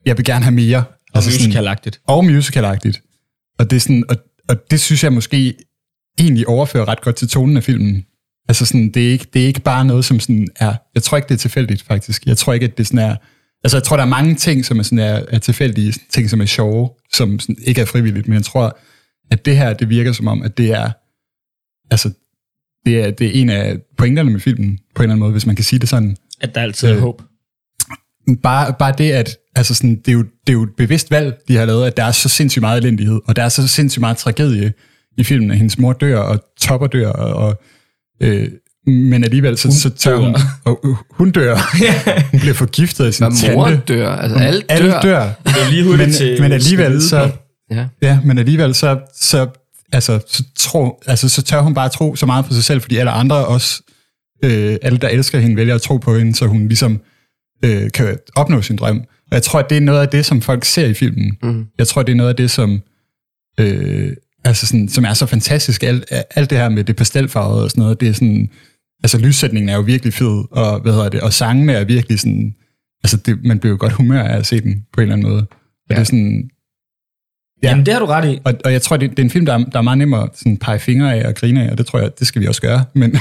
jeg vil gerne have mere.
Og
Altså sådan-
musicalagtigt.
og musicalagtigt. Og det, er sådan, og, og det synes jeg måske egentlig overfører ret godt til tonen af filmen. Altså sådan, det er ikke, det er ikke bare noget, som sådan er... Jeg tror ikke, det er tilfældigt, faktisk. Jeg tror ikke, at det sådan er... Altså, jeg tror, der er mange ting, som er, sådan er, er tilfældige, ting, som er sjove, som sådan ikke er frivilligt, men jeg tror, at det her, det virker som om, at det er... Altså, det er, det er en af pointerne med filmen, på en eller anden måde, hvis man kan sige det sådan
At der altid er
Øh,
håb.
bare, bare det, at altså sådan, det, er jo, det er jo et bevidst valg, de har lavet, at der er så sindssygt meget elendighed, og der er så sindssygt meget tragedie i filmen, at hendes mor dør, og Topper dør, og, og øh, men alligevel, så, så tør hun, og, øh, hun dør. hun bliver forgiftet af sin
Hvad mor
tante.
dør, altså alle dør.
Alle dør.
Det er lige hurtigt
Men,
til...
men alligevel, så,
Ja.
ja, men alligevel så, så, altså, så, tro, altså, så tør hun bare tro så meget på sig selv, fordi alle andre også, øh, alle der elsker hende, vælger at tro på hende, så hun ligesom øh, kan opnå sin drøm. Og jeg tror, at det er noget af det, som folk ser i filmen.
Mm.
Jeg tror, det er noget af det, som, øh, altså sådan, som er så fantastisk. Alt, alt det her med det pastelfarvede og sådan noget, det er sådan, altså lyssætningen er jo virkelig fed, og, hvad hedder det, og sangene er virkelig sådan, altså det, man bliver jo godt humør af at se den på en eller anden måde. Og ja. det er sådan,
Ja. Jamen, det har du ret i.
og, og jeg tror, det, det er en film, der er, der er meget nemmere at sådan pege fingre af og grine af, og det tror jeg, det skal vi også gøre. Men,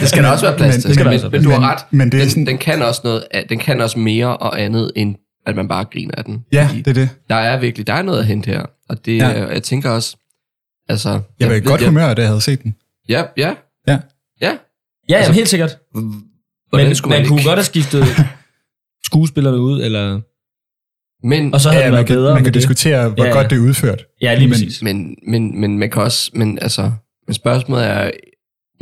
Det skal der også være plads
Men-
til. Det skal
men-
der også være plads til. Men, men du har ret.
men det er
den,
sådan-
den, kan også noget, af- den kan også mere og andet, end at man bare griner af den.
ja,
Fordi
det er det.
Der er virkelig, der er noget at hente her. Og det,
Ja.
ja. jeg tænker også, altså...
Jeg var i
ved-
godt
jeg-
humør, da jeg havde set den.
Ja, ja.
Ja.
Ja.
Ja, altså, jamen, helt sikkert.
Hvordan
men
skulle
man,
ikke-
kunne godt have skiftet skuespillerne ud, eller...
Men,
Og så havde ja, det
man
været
kan,
bedre
man
med
kan
det.
diskutere, hvor
Ja,
ja,
ja.
godt det er udført.
Ja, lige
men-
præcis.
Men, men, men man kan også, men altså, men spørgsmålet er,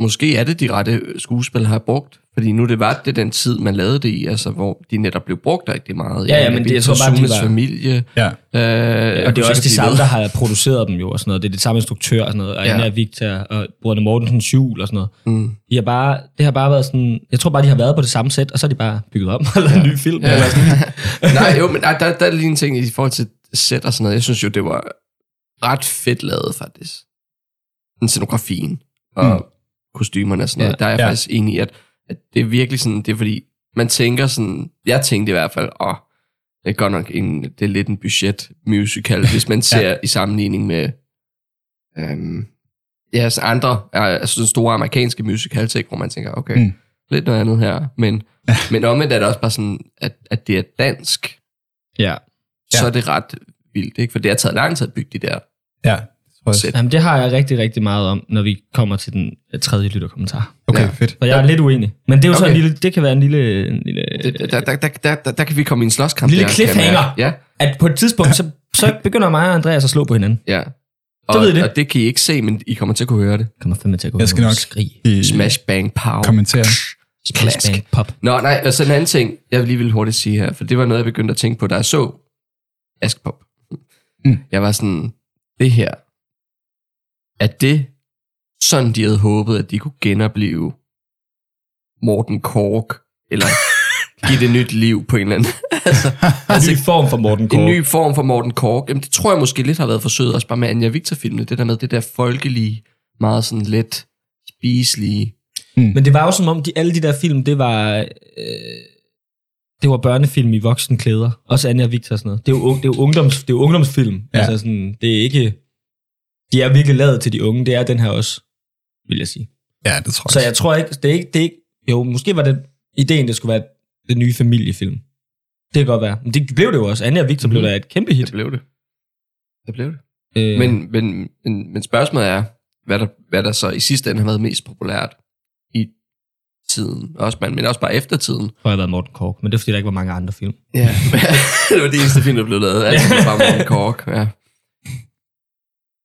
måske er det de rette skuespil har brugt, fordi nu det var det den tid, man lavede det i, altså hvor de netop blev brugt rigtig meget.
Ja, ja, men det- jeg tror bare, de
Sunes
var-
familie.
Ja.
Øh,
Og det er også de
sikkert
samme,
ved.
der har produceret dem jo, og sådan noget. Det er det samme instruktør og sådan noget. Og
Ja.
Anna Victor og Brødrene Mortensens jul og sådan noget.
Mm.
De har bare, det har bare været sådan... Jeg tror bare, de har været på det samme sæt, og så er de bare bygget om og lavet en ny film.
Ja.
Eller sådan.
Nej, jo, men der, der, der er lige en ting i forhold til sæt og sådan noget. Jeg synes jo, det var ret fedt lavet, faktisk. Den scenografien og
Mm.
mm. kostymerne og sådan
Ja,
noget. Ja, der er jeg
ja.
ja. faktisk enig i, at, at det er virkelig sådan, det er fordi, man tænker sådan, jeg tænkte i hvert fald, åh, det er godt nok en, det er lidt en budget musical, hvis man ser ja. i sammenligning med øhm, ja, altså andre, øh, altså den store amerikanske musical ting, hvor man tænker, okay,
Mm.
mm. lidt noget andet her, men, men omvendt er det også bare sådan, at, at det er dansk,
ja.
ja. så
Ja.
er det ret vildt, ikke? For det har taget lang tid at bygge de der
Ja, tror jeg.
sæt.
Jamen, det har jeg rigtig, rigtig meget om, når vi kommer til den øh, tredje lytterkommentar.
Okay,
Ja.
fedt.
For jeg er lidt uenig. Men det er jo okay. så
Okay.
en lille, det kan være en lille, en lille
Det- Der, der, der, der, der, der kan vi komme i en slåskamp.
Lille
der, kan jeg mærke.
cliffhanger.
Ja,
at på et tidspunkt, så, så begynder mig og Andreas at slå på hinanden.
ja. Og,
Så ved I det.
og det kan I ikke se, men I kommer til at kunne høre det.
Kommer fandme til at gå
Jeg skal
over og
nok
skrige.
I-
Smash, bang, pow.
Kommentere.
Splash, bang, pop.
Nå, nej, og så en anden ting, jeg lige ville hurtigt sige her, for det var noget, jeg begyndte at tænke på, da jeg så Askepop.
Mm.
Mm. Jeg var sådan, det her, er det sådan, de havde håbet, at de kunne genopleve Morten Kork, eller give det nyt liv på en eller anden. altså,
Altså, en ny form for Morten Kåre.
en ny form for Morten Kork. Jamen, det tror jeg måske lidt har været forsøget også bare med Anja Victor-filmene, det der med det der folkelige, meget sådan let spiselige.
Men det var jo som om, de, alle de der film, det var... Øh, det var børnefilm i voksenklæder. Også Anja og Victor og sådan noget. Det er jo, ung- det er jo, ungdoms, det er jo ungdomsfilm.
Ja.
Ja. Altså sådan, det er ikke... De er virkelig lavet til de unge. Det er den her også, vil jeg sige.
Ja, det tror jeg.
Så jeg tror ikke, det er ikke, det er ikke jo, måske var det ideen, det skulle være den nye familiefilm. Det kan godt være. Men det blev det jo også. Anja og Victor mm-hmm. blev
Mhm.
da et kæmpe hit.
blev det. Det blev det.
Øh,
Men, men, men, men spørgsmålet er, hvad der, hvad der så i sidste ende har været mest populært i tiden, også, men, men også bare efter tiden.
tror jeg, har været Morten Kork, men det er fordi, der ikke var mange andre film.
Ja. det var det eneste film, der blev lavet. Altså, det var bare Morten Kork. Ja.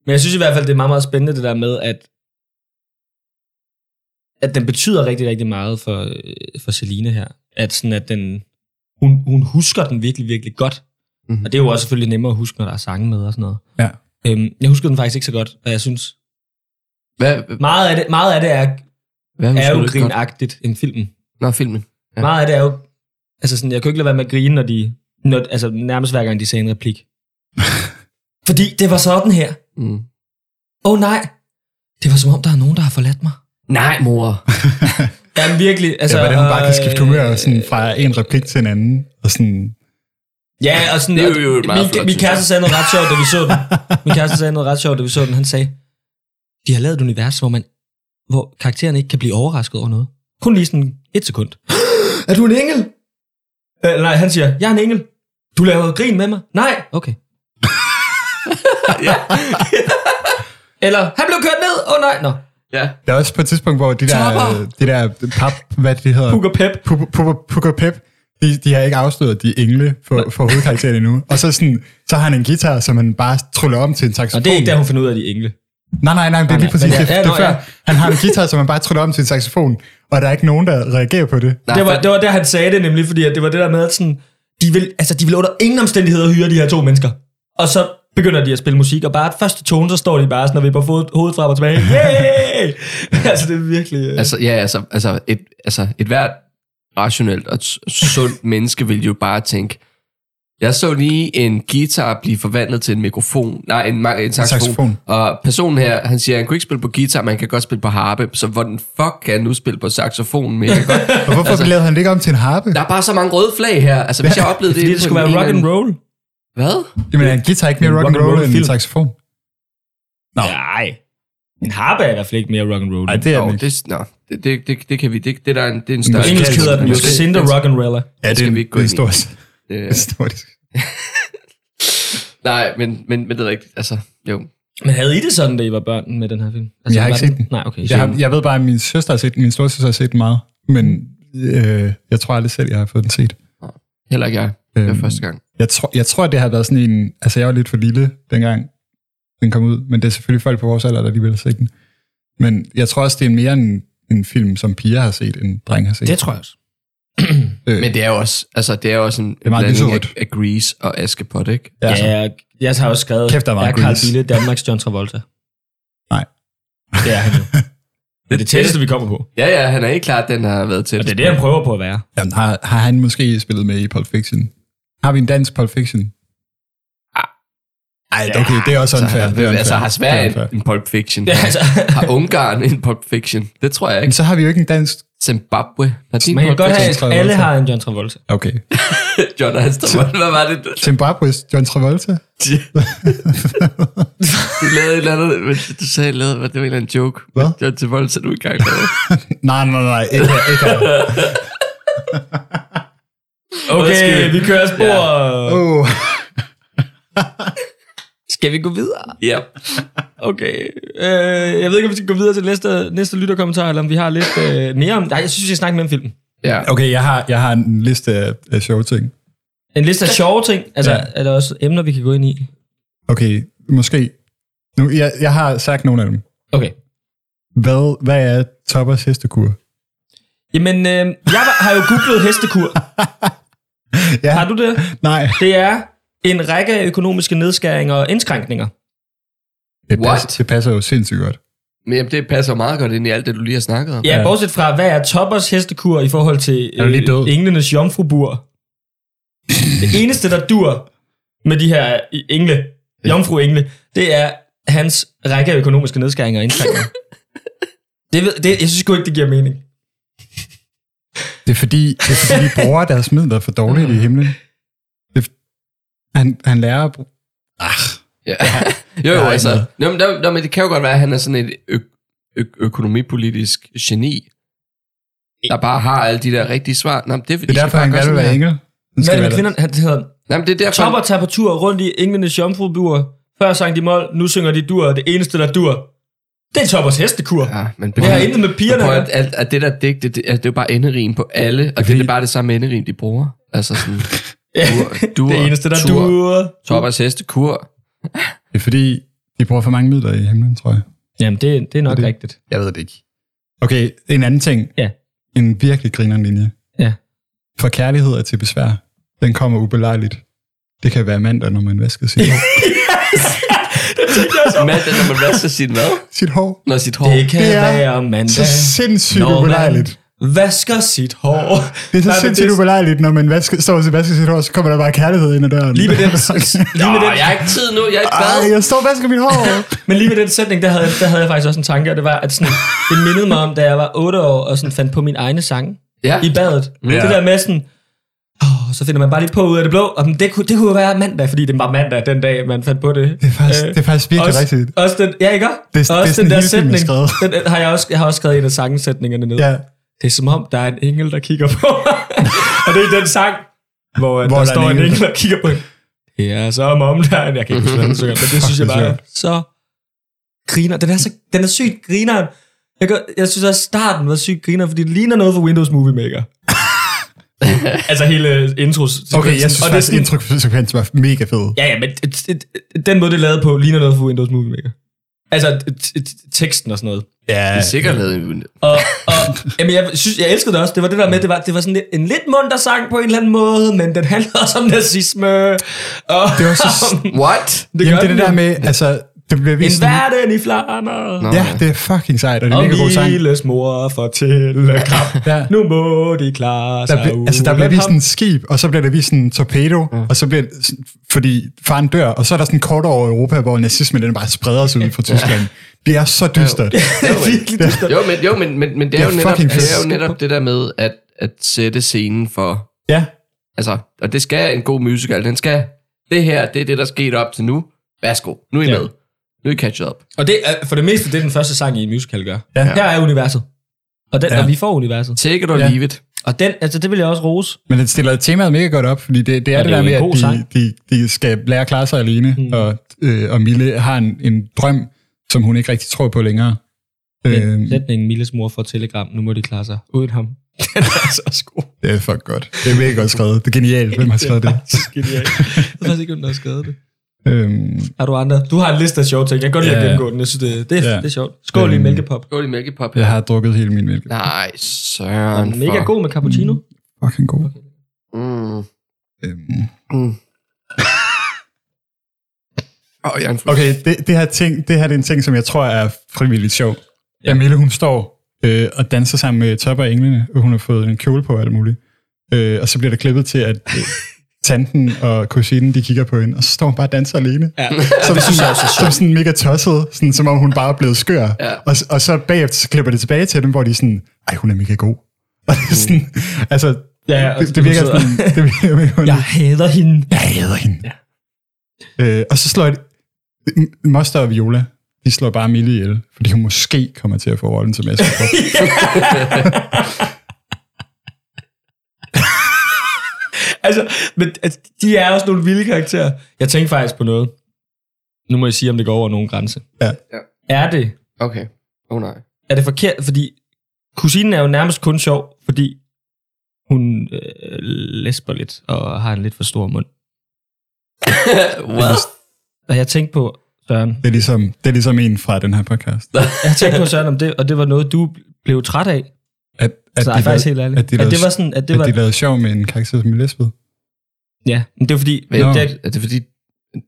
Men jeg synes i hvert fald, det er meget, meget spændende det der med, at, at den betyder rigtig, rigtig meget for, øh, for Celine her. At, sådan, at den, hun, hun husker den virkelig, virkelig godt.
Mhm.
Mm-hmm. Og det er jo også selvfølgelig nemmere at huske, når der er sange med og sådan noget.
Ja.
Øhm, jeg husker den faktisk ikke så godt, og jeg synes,
Hvad,
meget af det, meget af det er,
hvad
er jo
husker du ikke godt?
grinagtigt end filmen.
Nå, filmen. Ja.
Ja. Meget af det er jo... Altså sådan, jeg kunne ikke lade være med at grine, når de... Når, altså nærmest hver gang, de sagde en replik. Fordi det var sådan her.
Mm.
Åh oh, nej! Det var som om, der er nogen, der har forladt mig.
Nej, mor.
Jamen virkelig.
Altså,
Altså,
ja, hvordan hun bare kan
og,
skifte
øh,
humør sådan fra en replik til en anden. Og sådan,
Ja, og sådan...
Det er jo
og
et meget
min,
flot
min kæreste
synspunkt.
sagde noget ret sjovt, da vi så den. Min kæreste sagde noget ret sjovt, da vi så den. Han sagde, de har lavet et univers, hvor, man, hvor karakteren ikke kan blive overrasket over noget. Kun lige sådan et sekund. er du en engel? Øh, nej, han siger, jeg er en engel. Du laver grin med mig. Nej. Okay. Eller, han blev kørt ned. Åh oh, nej, nå.
Ja.
der er også på et tidspunkt, hvor de der,
Topper!
de der pap, hvad det hedder,
Puk og Pep.
Puk- Puk- Puk og Pep, de, de har ikke afsløret, at de er engle for, for hovedkarakteren endnu. Og så, sådan, så har han en guitar, som han bare tryller om til en
Og
saxofon.
det er ikke der, hun finder ud af, at de er engle.
Nej, nej, nej, det er lige præcis
men-
det,
Ja,
det
nå,
er før.
ja.
Han har en guitar, som han bare tryller om til en saxofon, og der er ikke nogen, der reagerer på det.
Nej,
det, var, det var der, han sagde det nemlig, fordi at det var det der med, at sådan, de, vil, altså, de vil under ingen omstændigheder hyre de her to mennesker. Og så begynder de at spille musik, og bare første tone, så står de bare sådan og vipper fod- hovedet frem og tilbage. Hey! altså, det er virkelig... øh,
Altså, ja, altså, altså, et, altså et hvert rationelt og s- sundt menneske vil jo bare tænke, jeg så lige en guitar blive forvandlet til en mikrofon, nej, en, ma- en saxofon.
saxofon.
Og personen her, han siger, han kunne ikke spille på guitar, men han kan godt spille på harpe, så hvordan fuck kan han nu spille på saxofon? Men jeg kan godt...
Og hvorfor altså,
Altså-
lavede han det ikke om til en harpe?
Der er bare så mange røde flag her. Altså, hvis jeg oplevede det...
fordi det
på
skulle
en
være rock and
eller
roll.
anden- Hvad?
Jamen, er en guitar ikke mere
En
rock and roll end en
rock'n'roll-film.
saxofon? Nå.
Nej. En harpe er i hvert fald ikke mere rock and roll.
Nej, det er
Nå,
den ikke.
det, nå, det, det, det, det kan vi... Det, det der er en, det er en
På
større... Altså,
engelsk hedder den jo
Det-
Cinder Rock and Roller.
Ja, det
skal
er en,
vi ikke gå
det er
ind
en
Altså,
stor,
det-
en stor
øh, Nej, men, men, men det er rigtigt. Altså, jo.
Men havde I det sådan, da I var børn med den her film?
Jeg har
var
ikke set den.
Nej, okay.
jeg, har, jeg ved bare, at min søster har set den, min storsøster har set den meget, men øh, jeg tror aldrig selv, jeg har fået den set.
Heller ikke jeg. Det var
Øhm,
første gang.
Jeg tror, jeg tror, det har været sådan en... Altså, jeg var lidt for lille dengang, den kom ud, men det er selvfølgelig folk på vores alder, der alligevel har set den. Men jeg tror også, det er mere en, en film, som piger har set, end drenge har set.
Det tror jeg også.
øh,
Men det er jo også, altså, det er jo også en det
er meget
blanding af,
lyserødt.
af Grease og Askepot, ikke?
ja,
Ja,
ja.
jeg, jeg har også skrevet,
Kæft, der er meget
er Carl
grease.
Bille Danmarks John Travolta?
Nej.
Det er han jo. Det er det tætteste, vi kommer på. Og
Ja, ja, han er ikke klart, den har været tæt.
det er det, han prøver på at være.
Jamen, har, har han måske spillet med i Pulp Fiction? Har vi en dansk Pulp Fiction? Ej, Ah. ja, okay, det er også
så
unfair.
har,
det er unfair.
altså, har
Det er
Sverige
unfair.
en, en Pulp Fiction?
Ja, altså.
Har Ungarn en Pulp Fiction? Det tror jeg
Men
ikke.
så har vi jo ikke en dansk...
Zimbabwe har din
Man kan
Pulp
godt have,
Fiction.
at alle har en John Travolta.
Okay.
John og Hans Travolta. Hvad var det? du-
Zimbabwe's John Travolta?
Du lavede et eller andet, men du sagde, lavede, hvad, det var en eller anden joke.
Hvad?
John Travolta, du ikke engang lavede.
Nej, nej, nej. Ikke, ikke.
Okay, vi kører spor. Ja.
Oh.
Skal vi gå videre?
Ja.
Okay. Øh, jeg ved ikke, om vi skal gå videre til næste, næste lytterkommentar, eller om vi har lidt øh, mere om... Nej, jeg synes, vi skal snakke mere om filmen.
Ja.
Okay, jeg har, jeg har en liste af, af sjove ting.
En liste af sjove ting. Altså,
Ja.
ja. er der også emner, vi kan gå ind i?
Okay, måske. Nu, jeg, jeg har sagt nogle af dem.
Okay.
Hvad, hvad er Toppers hestekur?
Jamen, øh, jeg var- har jo googlet hestekur.
Ja,
Har du det?
nej.
Det er en række af økonomiske nedskæringer og indskrænkninger.
Det
What?
passer, det passer jo sindssygt godt.
Men jamen, det passer meget godt ind i alt det, du lige har snakket om.
Ja, ja. bortset fra, hvad er Toppers hestekur i forhold til øh,
Er du lige død?
englenes jomfrubur? det eneste, der dur med de her øh, engle, jomfruengle, det er hans række af økonomiske nedskæringer og indskrænkninger. det, ved, det, jeg synes sgu ikke, det giver mening.
Det er fordi, det er fordi de bruger deres midler for dårligt i himlen. Det, han, han lærer at Ah, bruge...
Ja. jo,
Jeg
jo,
har
altså.
ikke
Nå, men, der, nå, men det kan jo godt være, at han er sådan et ø- ø- økonomipolitisk geni, der bare har alle de der rigtige svar. Nå, men det, er, fordi,
Det
de
er derfor,
bare
han
gøre
gerne
sådan
vil være
her.
engel. Han
Hvad
skal
er
være
det,
der.
kvinderne? Han det hedder,
Nå, men det er derfor...
Topper tager på tur rundt i englenes jomfrubur. Før sang de mål, nu synger de dur, og det eneste, der dur, Det er Toppers hestekur. Ja.
Ja, men
Det har intet med pigerne at
prøv,
gøre.
at, at, at, det der digt, det, det, at det er jo bare enderim på alle, og det, det er bare det samme enderim, de bruger. Altså sådan,
Ja,
dur, dur,
Det eneste, der er
tur,
dur.
Toppers heste, kur.
Det er fordi, de bruger for mange midler i himlen, tror jeg.
Jamen, det, det er nok
Det-
rigtigt.
Jeg ved det ikke. Okay, en anden ting.
Ja.
En virkelig grineren linje.
Ja.
For kærlighed er til besvær. Den kommer ubelejligt. Det kan være mandag, når man vasker sit hår.
Mand, når man vasker sin mad,
sit hår.
når sit hår.
Det kan
Det er
være
Så
mandag,
sindssygt
når
ubelejligt.
man vasker sit hår.
Det er så
Nej, men
sindssygt
det-
ubelejligt, når man vasker, står og vasker sit hår, så kommer der bare kærlighed ind ad døren.
Lige ved den, lige
Nå,
ved den,
jeg har ikke tid nu, jeg er ikke
Ej,
glad.
jeg står og vasker mit hår.
men lige ved den sætning, der havde, jeg- der havde jeg faktisk også en tanke, og det var, at sådan, det mindede mig om, da jeg var 8 år, og sådan fandt på min egne sange
Ja.
i badet. Ja. Det der med sådan, åh, så finder man bare lige på ud af det blå, og det, kunne, det kunne jo være mandag, fordi det var mandag den dag, man fandt på det. Øh,
Det er faktisk, det er faktisk virkelig
også,
rigtigt.
Også den, ja, ikke? også?
det er
også
sådan
den der
hele filmen
sætning.
skrevet.
Den, den har jeg, også, jeg har også skrevet en af sangsætningerne ned.
Ja.
Det er som om, der er en engel, der kigger på mig. og det er den sang, hvor, hvor der, står en engel. der kigger på en. Det er som om, der er en... Jeg kan ikke huske, hvordan den synger, men det synes jeg
det er
bare er så griner. Den er, så, den er sygt grineren. Jeg, gør, jeg synes også, starten var sygt griner, fordi det ligner noget fra Windows Movie Maker. altså hele intros.
Okay, jeg synes
og det er
faktisk,
sådan,
introsekvensen var mega fed.
Ja, ja, men et- et- et- den måde, det er lavet på, ligner noget fra Windows Movie Maker. Altså et- et- teksten og sådan noget.
Ja,
Det er sikkert lavet i vinduet.
Og, og jamen, jeg synes, jeg elskede det også. Det var det der med, det var, det var sådan lidt, en lidt munter sang på en eller anden måde, men den handlede også om nazisme. Og,
Det var så...
What?
det
Jamen, det er
den
det der
jo.
med, altså, det bliver
En
vist...
verden i flander.
Nå,
Ja, det er fucking sejt, og det er
Og
en mega god sang.
Miles mor fortæller kram.
Ja.
Nu må de klare
Der
sig
blev, altså, der
uden
bliver vist
ham.
en skib, og så bliver der vist en torpedo, ja. og så bliver, fordi faren dør, og så er der sådan en kort over Europa, hvor nazismen den bare spreder sig ud fra Tyskland. Det er så dystert.
Det er virkelig dystert.
Jo, men, jo, men, men, men det, er
Det
jo
er
netop,
fucking
det er jo
fedt.
netop det der med at, at sætte scenen for...
Ja,
Altså, og det skal en god musical. Den skal... Det her, det er det, der skete op til nu. Værsgo. Nu er I
Ja.
ja. med. Nu er I catchet up.
Og det er, for det meste, det er den første sang i en musical gør.
Ja.
Her er universet. Og, den,
Ja.
og vi får universet.
Take it or
Ja.
leave it.
Og den, altså det vil jeg også rose.
men den stiller temaet mega godt op, fordi det, det er
Ja,
det,
det er
det
jo en
der
god
med, at
sang.
de, de, de skal lære at klare sig alene,
Mm.
mm. og, øh, og Mille har en, en drøm, som hun ikke rigtig tror på længere.
Den
Øh,
sætning, Milles mor får telegram, nu må de klare sig uden ham. Den er altså også god.
det er fuck godt. Det er mega godt skrevet. Det er genialt, hvem har skrevet det.
Så genialt. Jeg ved faktisk ikke, hvem der har skrevet det.
Øhm,
Har du andre? Du har en liste af sjove ting. Jeg kan godt lide at
Ja.
gennemgå den. Jeg synes, det, det, er,
Ja.
det er sjovt. Skål i en
Øhm,
mælkepop.
Gå lige mælkepop her.
jeg har drukket hele min mælk.
Nej, søren.
Den er mega
for-
god med cappuccino.
Fucking god.
Mm.
Øhm,
Mm. Åh, jeg er en fuld.
Okay, det, det, her ting, det her det er en ting, som jeg tror er frivilligt sjov. Ja. Mille, hun står øh, og danser sammen med Topper og Englene, og hun har fået en kjole på og alt muligt. Øh, og så bliver der klippet til, at øh, tanten og kusinen, de kigger på hende, og så står hun bare og danser alene.
Ja.
Som, det synes jeg også som sådan mega tosset, sådan, som om hun bare er blevet skør.
Ja.
Og, s- og så bagefter så klipper det tilbage til dem, hvor de er sådan, ej, hun er mega god. Og det er sådan, altså,
Ja, og
det, det, virker
hun sidder-
sådan, det virker mega underligt.
Jeg hader hende.
Jeg hader hende. Ja. Øh, og så slår jeg... M- Moster og Viola, de slår bare Mille ihjel, fordi hun måske kommer til at få rollen som Asger.
Altså, men altså, de er også nogle vilde karakterer. Jeg tænkte faktisk på noget. Nu må jeg sige, om det går over nogen grænse.
Ja.
Ja.
Er det
Okay. Åh oh, nej.
er det forkert, fordi kusinen er jo nærmest kun sjov, fordi hun øh, læsper lidt og har en lidt for stor mund.
What?
Og jeg tænkte på, Søren,
det, er ligesom, det er ligesom en fra den her podcast.
jeg tænkte på Søren om det, og det var noget, du blev træt af.
At, at
Så nej, faktisk helt ærligt.
at de
at det
lavede-
var sådan, at det
det
var,
var... at de lavede sjov med en karakter som Lesbeth.
ja, men det var fordi,
Hvad,
Nå.
det, er det fordi,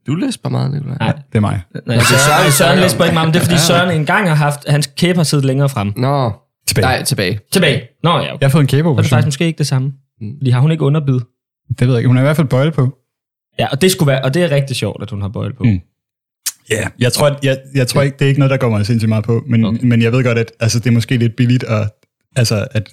du læser bare meget, Nicolaj?
Nej.
Det er mig.
nej,
det er
Søren,
Søren,
Søren,
vi
Søren
snakker
læsper
om.
ikke meget, men det er fordi
Ja.
Søren engang har haft, hans kæbe har siddet længere frem.
Nå.
Tilbage.
Nej, tilbage.
Tilbage. Nå ja, okay.
Jeg har fået en
Så er det
kæbeoperation.
faktisk måske ikke det samme.
Mm.
Fordi har hun ikke underbid?
Det ved jeg ikke. Hun har i hvert fald bøjle på.
Ja, og det skulle være, og det er rigtig sjovt, at hun har bøjle på.
Mm. Ja, yeah. jeg tror, at- jeg, jeg tror ikke, det er ikke noget, der går mig sindssygt meget på, men,
Okay.
okay. men jeg ved godt, at altså, det er måske lidt billigt, at, altså, at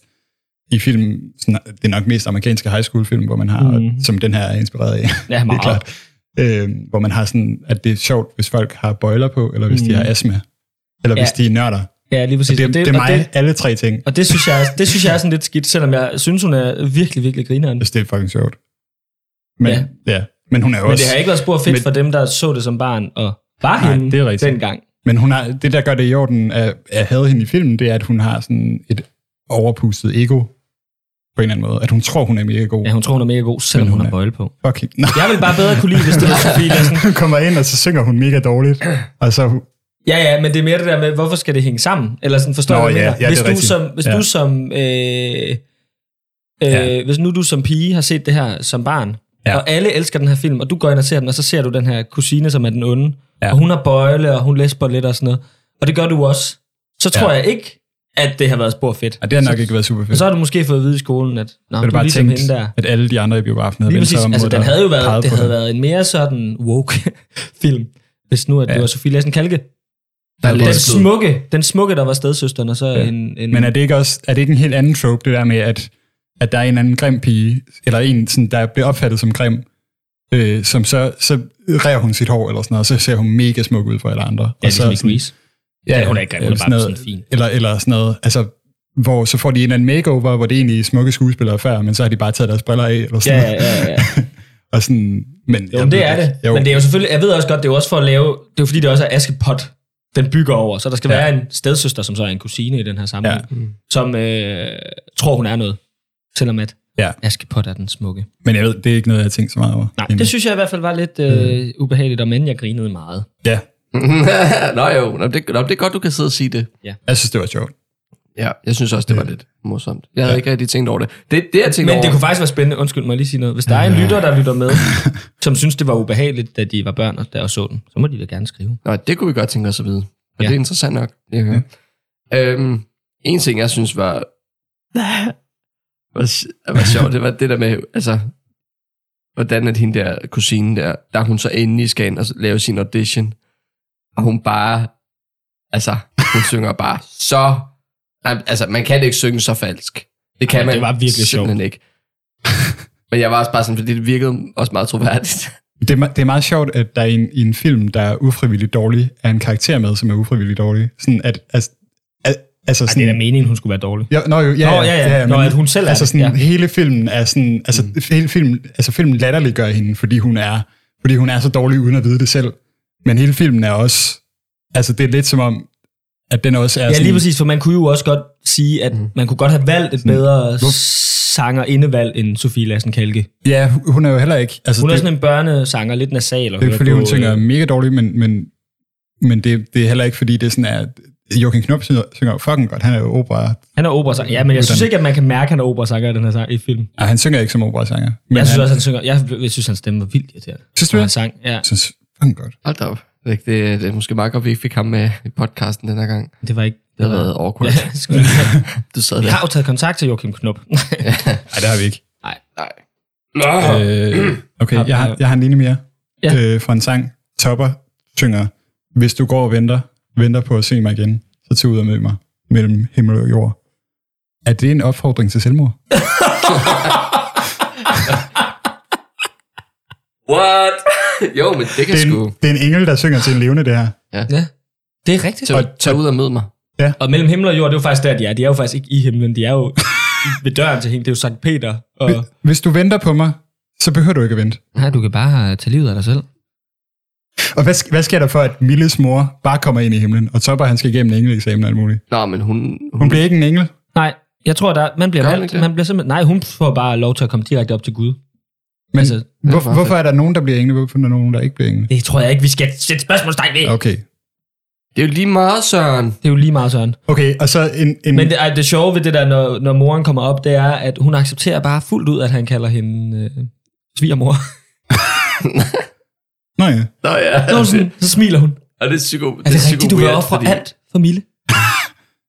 i film, sådan, det er nok mest amerikanske high school film, hvor man har,
Mhm.
mm. som den her er inspireret af,
Ja,
det
meget.
er klart, øh, hvor man har sådan, at det er sjovt, hvis folk har bøjler på, eller hvis mm. de
Mhm.
har astma, eller ja. hvis
Ja.
de er nørder.
Ja, lige præcis.
Det, det,
Og
det er
og
mig, det, alle tre ting.
Og det synes jeg, er- det synes jeg er sådan lidt skidt, selvom jeg synes, hun er virkelig, virkelig grineren.
Jeg synes, det er fucking sjovt. Men,
Ja.
ja. ja. men hun er jo
Men
også...
det har ikke været spor fedt
Men-
for dem, der så det som barn og var
Nej,
hende
det er rigtigt.
dengang.
Men hun har, det, der gør det i orden, at jeg havde hende i filmen, det er, at hun har sådan et overpustet ego, på en eller anden måde. At hun tror, hun er mega god.
Ja, hun tror, hun er mega god, selvom
Men
hun
hun
har
er-
bøjle på.
Fucking. Nå.
Jeg vil bare bedre kunne lide, hvis det var Sofie Lassen.
Hun kommer ind, og så synger hun mega dårligt. Og så,
Ja, ja, men det er mere det der med, hvorfor skal det hænge sammen? Eller sådan, forstår
Nå,
du, hvad jeg
ja,
mener?
ja, det
hvis
er
du
rigtigt.
som, hvis
Ja.
du som øh, øh,
Ja.
hvis nu du som pige har set det her som barn, ja.
Ja.
og alle elsker den her film, og du går ind og ser den, og så ser du den her kusine, som er den onde, ja.
Ja.
og hun har bøjle, og hun læsper lidt og sådan noget, og det gør du også, så tror ja.
Ja.
jeg ikke, at det har været spor fedt.
ja, det har nok ikke været super
Og
fedt.
så har du måske fået at vide i skolen, at Nå,
Så er
du
det
er
bare
ligesom
tænkt,
hende der.
at alle de andre i biografen havde
Lige
vendt sig
præcis.
om
Altså,
mod
den
dig
havde jo
og
været,
peget
det
på
havde
dig.
været en mere sådan woke-film, hvis nu at ja. det
Ja.
var Sofie Lassen Kalke.
Der er
Den
Den
lidt blod.
smukke, den smukke, der var stedsøsteren, og så ja.
Ja.
en, en...
Men er det ikke også er det ikke en helt anden trope, det der med, at, at der er en eller anden grim pige, eller en, sådan, der bliver opfattet som grim, øh, som så, så rærer hun sit hår eller sådan noget, og så ser hun mega smuk ud for alle andre.
ja,
og så,
ligesom i Grease.
Ja,
Ja, hun er ikke grim, hun er
eller
bare sådan
noget-
fin.
Eller, eller sådan noget, altså, hvor så får de en eller anden makeover, hvor det er egentlig smukke skuespillere før, men så har de bare taget deres briller af, eller
Ja,
sådan
ja,
noget.
ja. ja.
Og sådan, men,
Jo, men det er det.
Jo,
Men det er jo selvfølgelig, jeg ved også godt, det er jo også for at lave, det er jo fordi, det også er Askepot, den bygger over, så der skal ja.
Ja.
være en stedsøster, som så er en kusine i den her sammenhæng, ja. Mm. som øh, tror, hun er noget, selvom at
Ja.
Askepot er den smukke.
men jeg ved, det er ikke noget, jeg har tænkt så meget over.
Nej,
Egentlig.
det synes jeg i hvert fald var lidt øh, ubehageligt, og men jeg grinede meget.
Ja,
Nå jo, nå, det, nå, det er godt, du kan sidde og sige det.
jeg synes, det var sjovt.
Ja, jeg synes også, det var lidt morsomt. Jeg havde ikke rigtig tænkt over det. Det, det jeg tænkte
Men
over,
det kunne faktisk være spændende, undskyld mig lige sige noget. Hvis der er en lytter, der lytter med, som synes, det var ubehageligt, da de var børn og der og så den, så må de da gerne skrive.
Nå, det kunne vi godt tænke os at vide. Og
Ja.
ja. det er interessant nok. Det ja. øhm, en ting, jeg synes var, var, sj- var sjovt, det var det der med, altså, hvordan at hende der kusine der, der hun så endelig skal ind og lave sin audition, og hun bare, altså, hun synger bare så, nej, altså, man kan ikke synge så falsk. Det kan
Ej,
man
det var virkelig
simpelthen ikke. Men jeg var også bare sådan, fordi det virkede også meget troværdigt.
Det er, me- det er meget sjovt, at der i en, i en film, der er ufrivilligt dårlig, er en karakter med, som er ufrivilligt dårlig. Sådan at, altså, al- altså
Ej, det er da
sådan,
meningen, hun skulle være dårlig.
Ja, nå, jo, ja,
Nå, ja, ja. Nå, at hun selv er
altså
det,
sådan,
ja.
hele filmen er sådan, altså mm. hele filmen, altså filmen latterliggør hende, fordi hun er, fordi hun er så dårlig uden at vide det selv. Men hele filmen er også, altså det er lidt som om, at den også er
Ja,
sådan,
lige præcis, for man kunne jo også godt sige, at mm. man kunne godt have valgt et bedre sanger indevalg end Sofie Lassen Kalke.
ja, hun er jo heller ikke, altså
Hun er
det,
sådan en børnesanger, lidt nasal. Og
det er
hører
ikke, fordi
på,
hun synger
øh,
mega dårligt, men, men, men det, det er heller ikke, fordi det sådan er, Joachim Knop synger, synger jo fucking godt, han er jo opera,
Han er operasanger. Ja, men jeg synes
Uddannet.
ikke, at man kan mærke, at han er operasanger i den her sang, i film.
nej, han synger ikke som operasanger. Men
Jeg synes
han,
også, han synger. Jeg, jeg synes, hans stemme var vildt irriterende.
Synes du
Når
det?
han sang. Ja,
jeg synes fucking godt.
Hold da op. Det, det, det er måske meget godt, vi ikke fik ham med i podcasten den her gang.
det var ikke...
Det har været awkward.
Ja, sgu da.
Du sad
Vi
der.
har jo taget kontakt til Joachim Knop.
Nej, det har vi ikke.
Nej. Nå.
Øh,
Har-
okay, jeg har, jeg har en linje mere
Ja.
øh, fra en sang. Topper synger, hvis du går og venter, venter på at se mig igen, så tag ud og mød mig mellem himmel og jord. Er det en opfordring til selvmord?
What? jo, men det kan
Det er, en,
sgu.
det er en engel, der synger til en levende, det her.
ja. Det er rigtigt.
Tag, tag ud og mød mig.
Og mellem himmel og jord, det er jo faktisk der, de er. De er jo faktisk ikke i himlen, de er jo i- ved døren til hende. Det er jo Sankt Peter. Og...
Hvis du venter på mig, så behøver du ikke at vente.
Nej, du kan bare tage livet af dig selv.
Og hvad, sk- hvad sker der for, at Milles mor bare kommer ind i himlen, og Topper han skal igennem en engeleksamen og alt muligt?
Nå, men hun...
Hun bliver ikke en engel.
Nej, jeg tror, der, man bliver
Gør hun
valgt.
ikke det?
Man bliver simpelthen, nej, hun får bare lov til at komme direkte op til Gud.
Men
Altså,
altså,
det
er
hvor,
meget
hvorfor er der nogen, der bliver engle? Hvorfor er der nogen, der ikke bliver engle?
Det tror jeg ikke, vi skal sætte spørgsmålstegn ved. Okay.
Okay.
Det er jo lige meget, Søren.
Det er jo lige meget sådan.
Okay, og så en... en
Men det, ej, det sjove ved det der, når, når moren kommer op, det er, at hun accepterer bare fuldt ud, at han kalder hende øh, svigermor.
Nå ja.
Nå ja,
Så, er hun sådan, så smiler hun.
og det er psyko...
Er det, rigtigt, du vil ofre alt for Mille?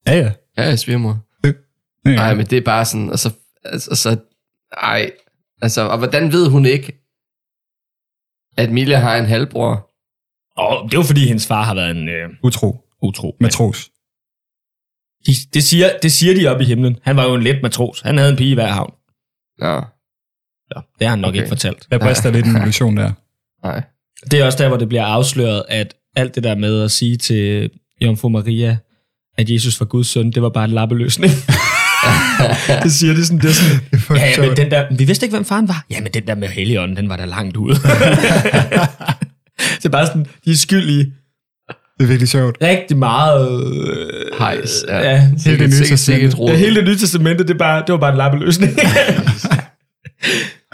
Ja, ja.
Ja, jeg svigermor.
ja, ja.
Nej, men det er bare sådan, og så... Altså, og så ej. Altså, og hvordan ved hun ikke, at Mille har en halvbror?
Åh, det er jo fordi, hendes far har været en øh,
Utro.
utro. mand.
Matros.
De, det, siger, det siger de op i himlen. Han var jo en let matros. Han havde en pige i hver havn.
Nå,
Ja, det har han nok
Okay.
okay. ikke fortalt.
Der brister lidt en illusion der.
nej.
Det er også der, hvor det bliver afsløret, at alt det der med at sige til Jomfru Maria, at Jesus var Guds søn, det var bare en lappeløsning. det siger det sådan, det er sådan, ja, ja, men den der, vi vidste ikke, hvem faren var. Ja, men den der med Helligånden, den var da langt ude. det er bare sådan, de er skyldige.
Det er virkelig sjovt.
Rigtig meget... Øh,
Hejs.
Ja. ja.
Helt det nye
sikkert, sikkert
testamente.
råd.
Ja, hele det nye testamente, det, er bare, det var bare en lappeløsning.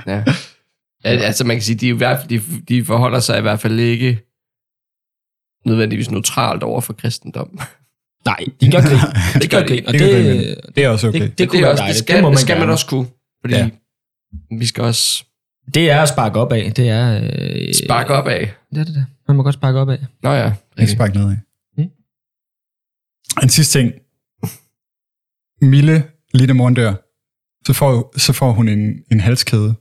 Ja. Al- Altså man kan sige, de, er i hvert fald, de, de forholder sig i hvert fald ikke nødvendigvis neutralt over for kristendom.
Nej, de gør grin. De
Det
gør
gør de
grin,
ikke.
og
Det
det,
gør
det,
de ikke. Det er også okay.
det,
Det,
kunne
det, er
være
også, det
dejligt.
skal,
det, må man,
skal man
gerne.
også kunne, fordi
Ja.
ja. vi skal også
Det er at sparke op af. Det er... Øh,
sparke op af.
Det er det der. Man må godt sparke op af.
Nå ja,
Ikke spark nedad.
Mm.
En sidste ting. Mille, lige da moren dør, så får, så får hun en, en halskæde,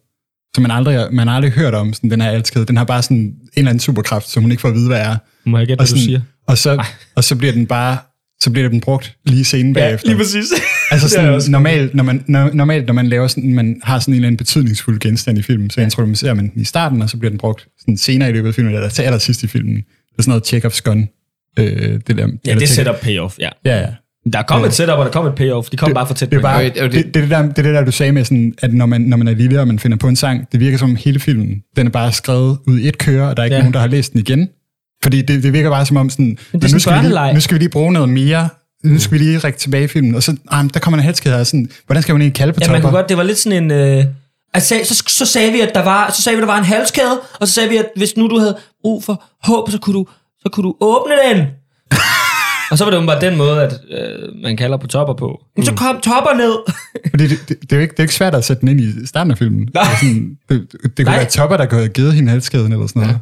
som man aldrig, man har aldrig hørt om, sådan den her halskæde. Den har bare sådan en eller anden superkraft, som hun ikke får at vide, hvad er.
Må jeg gætte,
Og
hvad du
sådan-
siger?
Og så, og så bliver den bare så bliver den brugt lige scenen bagefter.
præcis.
altså
det har jeg også
sådan, normalt, når man, når, normalt, når man laver sådan, man har sådan en eller anden betydningsfuld genstand i filmen, så introducerer man den i starten, og så bliver den brugt sådan senere i løbet af filmen, eller til allersidst i filmen. Det er sådan noget check-offs gun. Øh, det der,
ja,
eller
det er
check-
setup payoff, ja.
Ja, ja.
Der kom et setup, og der kom et payoff. De kom bare for tæt
Det er,
på
bare,
det er jo
det,
det-
det, er det, der, det er det der, du sagde med, sådan, at når man, når man er lille, og man finder på en sang, det virker som hele filmen, den er bare skrevet ud i et køre, og der er ikke
Ja.
ja. nogen, der har læst den igen. Fordi det, det virker bare som om sådan,
sådan
men nu, skal vi
børneleg.
lige, nu skal vi lige bruge noget mere, nu skal vi lige række tilbage i filmen, og så, ah, men der kommer en halskæde her, sådan, hvordan skal man egentlig kalde på
Ja,
topper?
man kunne godt, det var lidt sådan en... Øh, altså, sag- så, så, sagde vi, at der var, så sagde vi, at der var en halskæde, og så sagde vi, at hvis nu du havde brug for håb, så kunne du, så kunne du åbne den. og så var det bare den måde, at øh, man kalder på topper på.
Mm.
Men så kom topper ned.
Fordi det, det, det, er jo ikke, det er jo ikke svært at sætte den ind i starten af filmen.
Nej.
Altså Sådan, det, det kunne
Nej.
være topper, der kunne have givet hende halskæden eller sådan noget.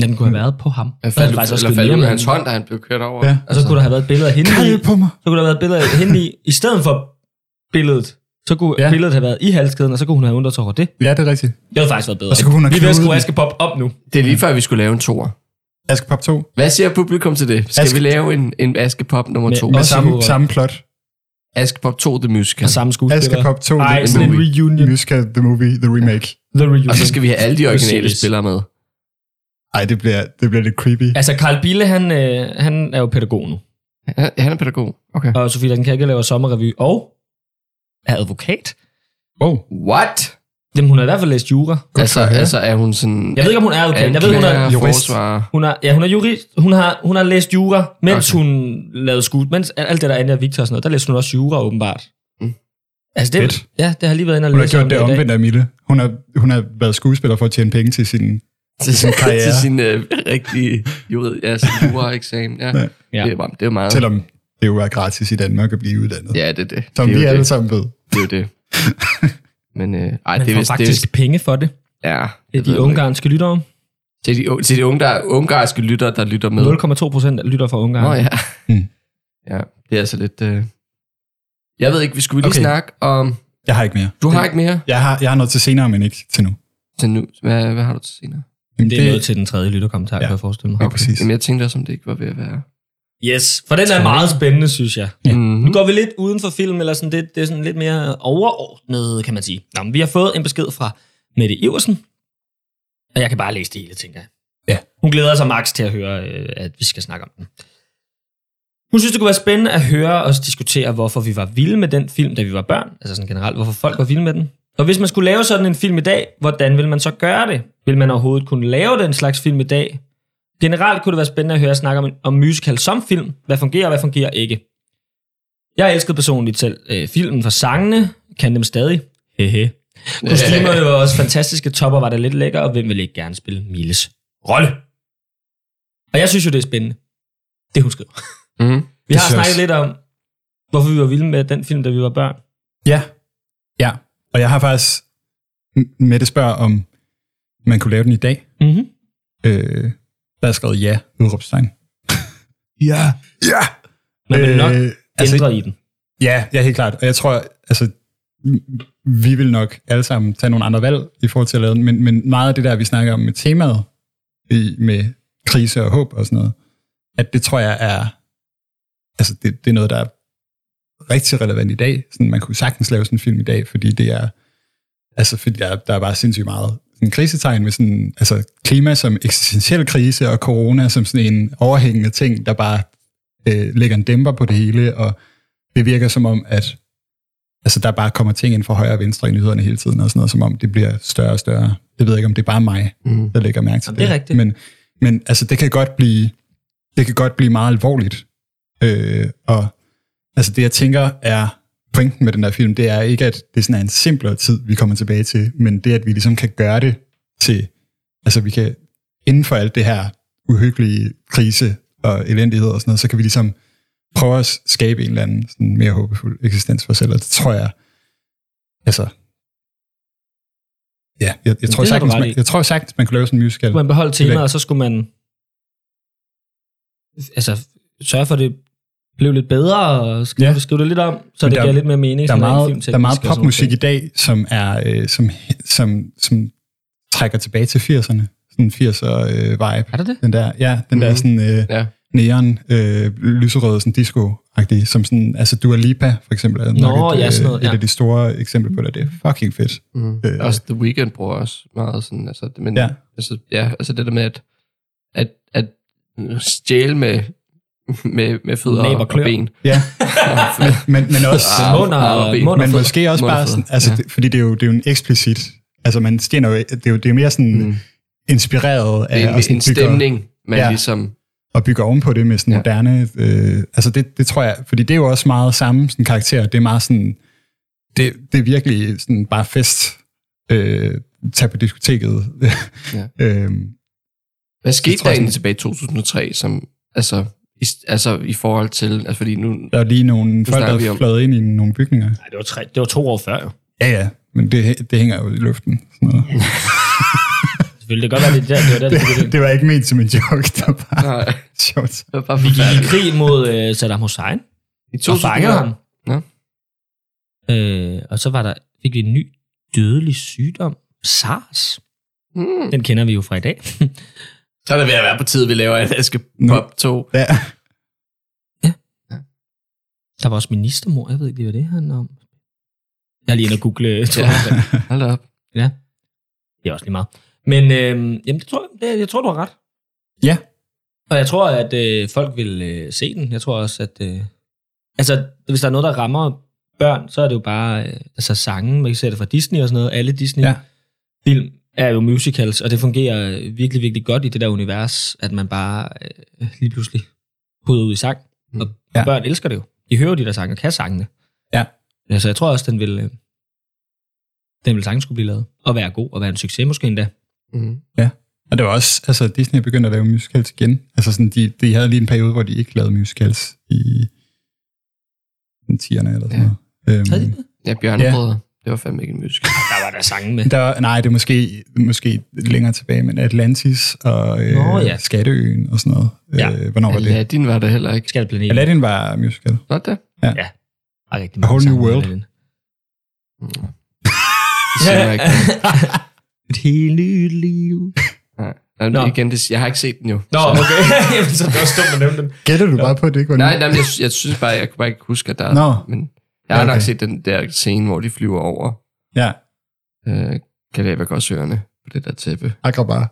Ja, den kunne have været på ham.
Jeg
Så havde
faldt,
det faktisk også
eller
givet
faldt ud
mere
af hans
mening.
hånd, da han blev kørt over.
Ja.
Og så kunne der have været et billede af hende
Ja.
i,
Kald på mig!
så kunne der have været et billede af hende i, i stedet for billedet. Så kunne ja.
Ja.
billedet have været i halskæden, og så kunne hun have undret sig over det.
Ja, det er rigtigt.
Det havde faktisk været bedre.
Og så kunne hun have
Vi er ved at
knudet
skrue
den.
Askepop op nu.
Det er lige før, vi skulle lave en toer.
Askepop 2.
Hvad siger publikum til det? Skal
Aske-
vi lave en, en Askepop nummer
Med-
2?
med
Og
samme
samme,
ord.
samme plot.
Askepop 2 The Musical.
Og samme skuespiller.
Askepop 2.
Ej,
the
sådan en
movie.
reunion.
Musical The Movie, The Remake.
The reunion.
Og så skal vi have alle de originale
Præcis.
spillere med.
Ej, det bliver, det bliver lidt creepy.
Altså, Carl Bille, han, øh, han er jo pædagog nu.
Han- Han er pædagog. Okay.
Og Sofie Lankenkakke laver sommerrevy og er advokat.
Wow.
What?
Jamen, hun har i hvert fald læst jura.
Altså,
for hende.
altså er hun sådan...
Jeg ved ikke, om hun er advokat. Jeg ved, hun
anklager,
har,
jurist.
forsvarer.
hun har, ja, hun er jurist. Hun har, hun har læst jura, mens
Okay.
okay. hun lavede skud. Mens alt det der Anja og Victor og sådan noget, der læste hun også jura, åbenbart.
Mm.
Altså, det,
Fedt.
ja, det har lige været inde og
Hun har
læse om
gjort det
i dag.
omvendt af Mille. Hun har, hun har været skuespiller for at tjene penge til sin...
til sin
karriere.
til sin øh, rigtige jurid, ja, sin jura-eksamen. Ja.
Ja.
Ja.
Ja. Det, er, bare- det er meget...
Selvom det jo er gratis i Danmark at blive uddannet.
Ja, det er det.
Som
det er
vi
jo
alle
det.
sammen ved.
det, er jo det. Men, øh, ej,
Man
det er
får
vist, det er
faktisk
vist,
penge for det.
ja,
Det
det
er de ungarske lyttere.
Til de, til de unge, der, ungarske lytter, der lytter med.
0,2 procent lytter fra Ungarn.
Nå ja.
Mm.
Ja, det er altså lidt... Øh... Jeg ved ikke, vi skulle lige
Okay.
okay. snakke om...
Jeg har ikke mere.
Du har ikke mere
Jeg har, jeg har noget til senere, men ikke til nu.
til nu. Hvad, hvad har du til senere?
Jamen,
Det er noget til den tredje lytterkommentar, ja.
Ja.
kan jeg forestille mig.
Ja, præcis.
Jamen, jeg tænkte også, om det ikke var ved at være...
Yes, for den er meget spændende, synes jeg.
Ja.
Mm-hmm.
Nu går vi lidt uden for film, eller sådan lidt, det er sådan lidt mere overordnet, kan man sige. Nå, men vi har fået en besked fra Mette Iversen, og jeg kan bare læse det hele, tænker jeg.
Ja.
Hun glæder sig max til at høre, øh, at vi skal snakke om den. Hun synes, det kunne være spændende at høre os diskutere, hvorfor vi var vilde med den film, da vi var børn. Altså sådan generelt, hvorfor folk var vilde med den. Og hvis man skulle lave sådan en film i dag, hvordan vil man så gøre det? Vil man overhovedet kunne lave den slags film i dag? Generelt kunne det være spændende at høre snakke om, om musical som film. Hvad fungerer, og hvad fungerer ikke? Jeg elskede personligt selv øh, filmen for sangene, kan dem stadig. Hehe. Kostymerne var også fantastiske, topper var der lidt lækker, og hvem vil ikke gerne spille Miles rolle? Og jeg synes jo, det er spændende. Det hun skriver.
Mm-hmm.
Vi
Det
har
synes jeg
snakket
også.
lidt om, hvorfor vi var vilde med den film, da vi var børn.
Ja. Ja. Og jeg har faktisk... M- Mette spørger, om man kunne lave den i dag.
Mm-hmm.
Øh, der er skrevet ja, udråbstegn. ja. Ja. Øh,
Man vil nok altså, ændre i den.
Ja, ja, helt klart. Og jeg tror, altså, m- vi vil nok alle sammen tage nogle andre valg i forhold til at lave den, men, men meget af det der, vi snakker om med temaet, i, med krise og håb og sådan noget, at det tror jeg er, altså det, det er noget, der er rigtig relevant i dag. Sådan, man kunne sagtens lave sådan en film i dag, fordi det er, altså fordi der, der er bare sindssygt meget sådan krisetegn med sådan, altså klima som eksistentiel krise og corona som sådan en overhængende ting, der bare øh, lægger en dæmper på det hele, og det virker som om, at altså, der bare kommer ting ind fra højre og venstre i nyhederne hele tiden, og sådan noget, som om det bliver større og større. Jeg ved ikke, om det er bare mig,
Mm.
der lægger mærke til
Jamen, det er rigtigt.
Men, men altså, det kan godt blive det kan godt blive meget alvorligt. Øh, og altså det, jeg tænker, er pointen med den der film, det er ikke, at det sådan er en simplere tid, vi kommer tilbage til, men det, at vi ligesom kan gøre det til, altså vi kan inden for alt det her uhyggelige krise og elendighed og sådan noget, så kan vi ligesom prøve at skabe en eller anden sådan mere håbefuld eksistens for os selv, og det tror jeg, altså, ja, jeg, jeg,
det
tror,
har du
sagtens,
ret i.
man, jeg tror sagtens, man kan lave sådan en musical.
skulle man beholde
Tilbage.
temaet, og så skulle man altså, sørge for, at det blev lidt bedre, og skrive,
Ja.
ja. skrive det lidt om, så
Men
det
der-
giver lidt mere mening.
der er
sådan rent
meget,
filmteknisk
der er meget
og sådan nogle
popmusik i
ting.
dag, som, er, øh, som, som, som trækker tilbage til 80'erne. Sådan en 80'er øh, vibe.
Er der det?
Den der, ja, den mm. der
Mhm.
sådan øh,
Ja.
neon, øh, lyserød, sådan disco-agtig, som sådan, altså Dua Lipa for eksempel, er
Nå,
nok et, øh,
ja, sådan noget,
et
ja.
af de store eksempler på det, og det er fucking fedt.
Mm.
Øh.
Øh. Også The Weeknd bruger også meget sådan, altså, det- men,
Ja.
ja. altså, ja, altså det der med at, at, at stjæle med, med, med fødder
Næb og
og, og
klør.
ben.
Ja, men, men også...
Ah,
mund og-
ah, ben.
mund og
Men
fødder.
måske også bare sådan,
Mundfødder,
altså,
ja.
det, fordi det er, jo, det er jo en eksplicit, altså man stjener jo, det er jo, det er jo mere sådan mm.
Mm.
inspireret af...
Det er
og
en,
sådan
en
bygger-
stemning, man
Ja.
ja. ligesom...
og bygger ovenpå det med sådan
Ja.
moderne... Øh, altså det, det tror jeg, fordi det er jo også meget samme sådan karakter. Det er meget sådan... Det, det er virkelig sådan bare fest. Øh, tag på diskoteket.
Ja.
øh,
Hvad skete
tror
der
jeg
egentlig
sådan-
tilbage i 2003, som, altså, i, altså i forhold til, altså fordi nu,
der er lige nogle folk,
snakker
der
vi
er
om-
fløjet ind i nogle bygninger.
Nej, det var, tre, det var to år før, jo.
Ja, ja. Men det, det hænger jo i luften. Sådan noget.
Selvfølgelig, det kan godt være, det, er der, det var der, det begyndte.
det var ikke ment som en joke, der var
nej,
sjovt.
det var bare
Vi gik i
forfærdeligt.
krig mod øh, Saddam Hussein,
I
og fangede ham.
2000, Ja.
Øh, og så var der, fik vi en ny dødelig sygdom, SARS.
mm,
Den kender vi jo fra i dag.
så er det ved at være på tide, vi laver en Aske Pop 2.
Ja.
Der var også ministermor, jeg ved ikke lige, hvad det handler om. Jeg er lige inde og google, øh, tror
Ja.
jeg.
Hold da op.
Ja. Det er også lige meget. Men øh, jamen, det tror, jeg- det, jeg tror, du har ret.
Ja.
Og jeg tror, at øh, folk vil øh, se den. Jeg tror også, at... Øh, altså, hvis der er noget, der rammer børn, så er det jo bare... Øh, altså, sangen, man kan se det fra Disney og sådan noget. Alle
Ja.
Disney-film er jo musicals, og det fungerer øh, virkelig, virkelig godt i det der univers, at man bare øh, lige pludselig hovedet ud i sang. Og
Mm. Ja.
ja. børn elsker det jo. De hører jo de der sange og kan sangene.
Ja.
Ja, så jeg tror også, den vil... Øh, den ville sagtens skulle blive lavet, og være god, og være en succes måske endda.
Mm.
Og det var også, altså Disney begyndte at lave musicals igen. Altså sådan, de, de havde lige en periode, hvor de ikke lavede musicals i den 10'erne eller sådan
Ja.
noget.
Havde de
Øhm,
det?
Ja, Bjørnebrødre. Det var fandme ikke en musical.
Der var der sange med.
der, var- nej, det er måske, måske længere tilbage, men Atlantis og øh,
Nå, ja.
Skatteøen og sådan noget.
Ja.
Øh, hvornår var det?
Aladdin var der heller ikke.
Skatteplaneten.
Aladdin var musical.
Var det?
Der er rigtig
A Whole New World.
Mm. Det siger mig ikke.
Et helt nyt liv.
Nej. Nej,
Nå.
men igen, det, jeg har ikke set den jo.
Nå, okay. Jamen, så er det også dumt at nævne den.
Gætter du bare på, at det ikke var
Nej,
nu?
nej men jeg, jeg synes bare, jeg kan bare ikke huske, at der
Nå.
Men jeg har
Ja,
okay. nok
okay.
set den der scene, hvor de flyver over
Ja,
øh, Kalabagosøerne på det der tæppe.
Agrabah.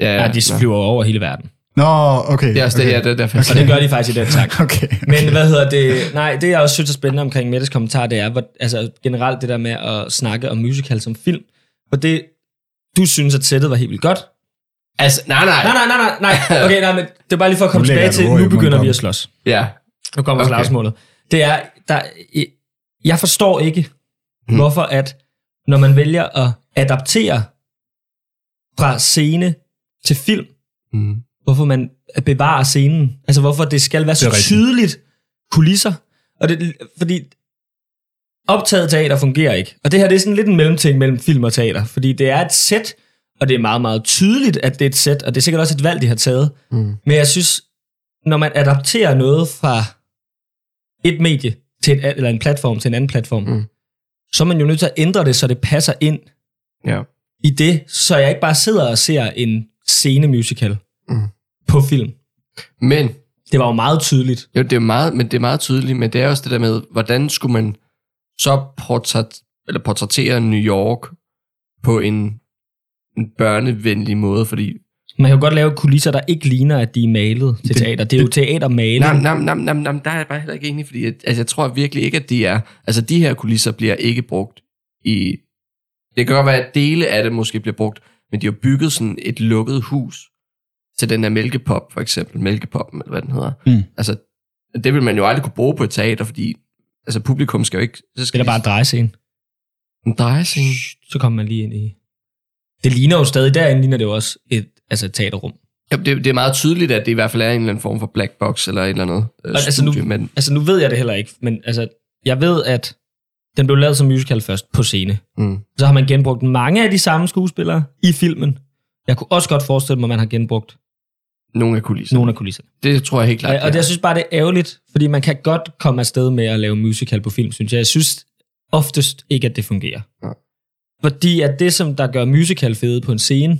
Ja,
Ja, de
nå.
flyver over hele verden.
Nå, okay.
Det er også
okay.
det, ja, det er derfor, jeg
Og det gør de faktisk i den sang.
Okay.
Men hvad hedder det? Nej, det jeg også synes er spændende omkring Mettes kommentar, det er hvor, altså, generelt det der med at snakke om musical som film. For det, du synes, at sættet var helt vildt godt.
Altså, nej, nej.
Nej, nej, nej, nej, nej. Okay, nej, men det er bare lige for at komme
Nu lægger
tilbage
jeg
til,
et ord i
nu
munden
begynder
på
vi
ham.
at slås.
Ja.
Nu kommer okay.
Okay.
slagsmålet. Det er, der, jeg forstår ikke,
Hmm.
hmm. hvorfor at, når man vælger at adaptere fra scene til film,
Mm.
hvorfor man bevarer scenen. Altså hvorfor det skal være
Det
så
er rigtigt.
tydeligt kulisser. Og det, fordi optaget teater fungerer ikke. Og det her det er sådan lidt en mellemting mellem film og teater, fordi det er et sæt, og det er meget, meget tydeligt, at det er et sæt, og det er sikkert også et valg, de har taget.
Mm.
Men jeg synes, når man adapterer noget fra et medie til et, eller en platform til en anden platform, mm.
Mm.
så er man jo nødt til at ændre det, så det passer ind
Ja.
i det, så jeg ikke bare sidder og ser en scenemusical
Mm.
på film.
Men
Det var jo meget tydeligt.
Jo, det er jo meget, men det er meget tydeligt, men det er også det der med, hvordan skulle man så portræt, eller portrættere New York på en, en børnevenlig måde, fordi...
Man kan jo godt lave kulisser, der ikke ligner, at de er malet til
Det-
det, teater. Det er jo teatermaling.
Nam, nam, nam, nam, nam, der er jeg bare heller ikke enig, fordi at, altså, jeg tror virkelig ikke, at de er... Altså, de her kulisser bliver ikke brugt i... Det kan godt være, at dele af det måske bliver brugt, men de har bygget sådan et lukket hus, til den der mælkepop, for eksempel, mælkepoppen, eller hvad den hedder.
Mm.
Altså, det vil man jo aldrig kunne bruge på et teater, fordi altså, publikum skal jo ikke... Så
Det
skal
er da bare en drejescene.
en drejescene.
Så kommer man lige ind i... Det ligner jo stadig, derinde ligner det jo også et, altså et teaterrum.
Ja, det, det, er meget tydeligt, at det i hvert fald er en eller anden form for black box, eller et eller andet øh,
Altså,
studie,
nu-
men
Altså, nu ved jeg det heller ikke, men altså, jeg ved, at den blev lavet som musical først på scene.
Mm.
Så har man genbrugt mange af de samme skuespillere i filmen. Jeg kunne også godt forestille mig, at man har genbrugt
nogle af kulisserne.
nogle af kulisserne.
Det tror jeg helt klart.
Og, og det, jeg synes bare, det er ærgerligt, fordi man kan godt komme afsted med at lave musical på film, synes jeg. Jeg synes oftest ikke, at det fungerer.
Nej.
Fordi at det, som der gør musical fede på en scene,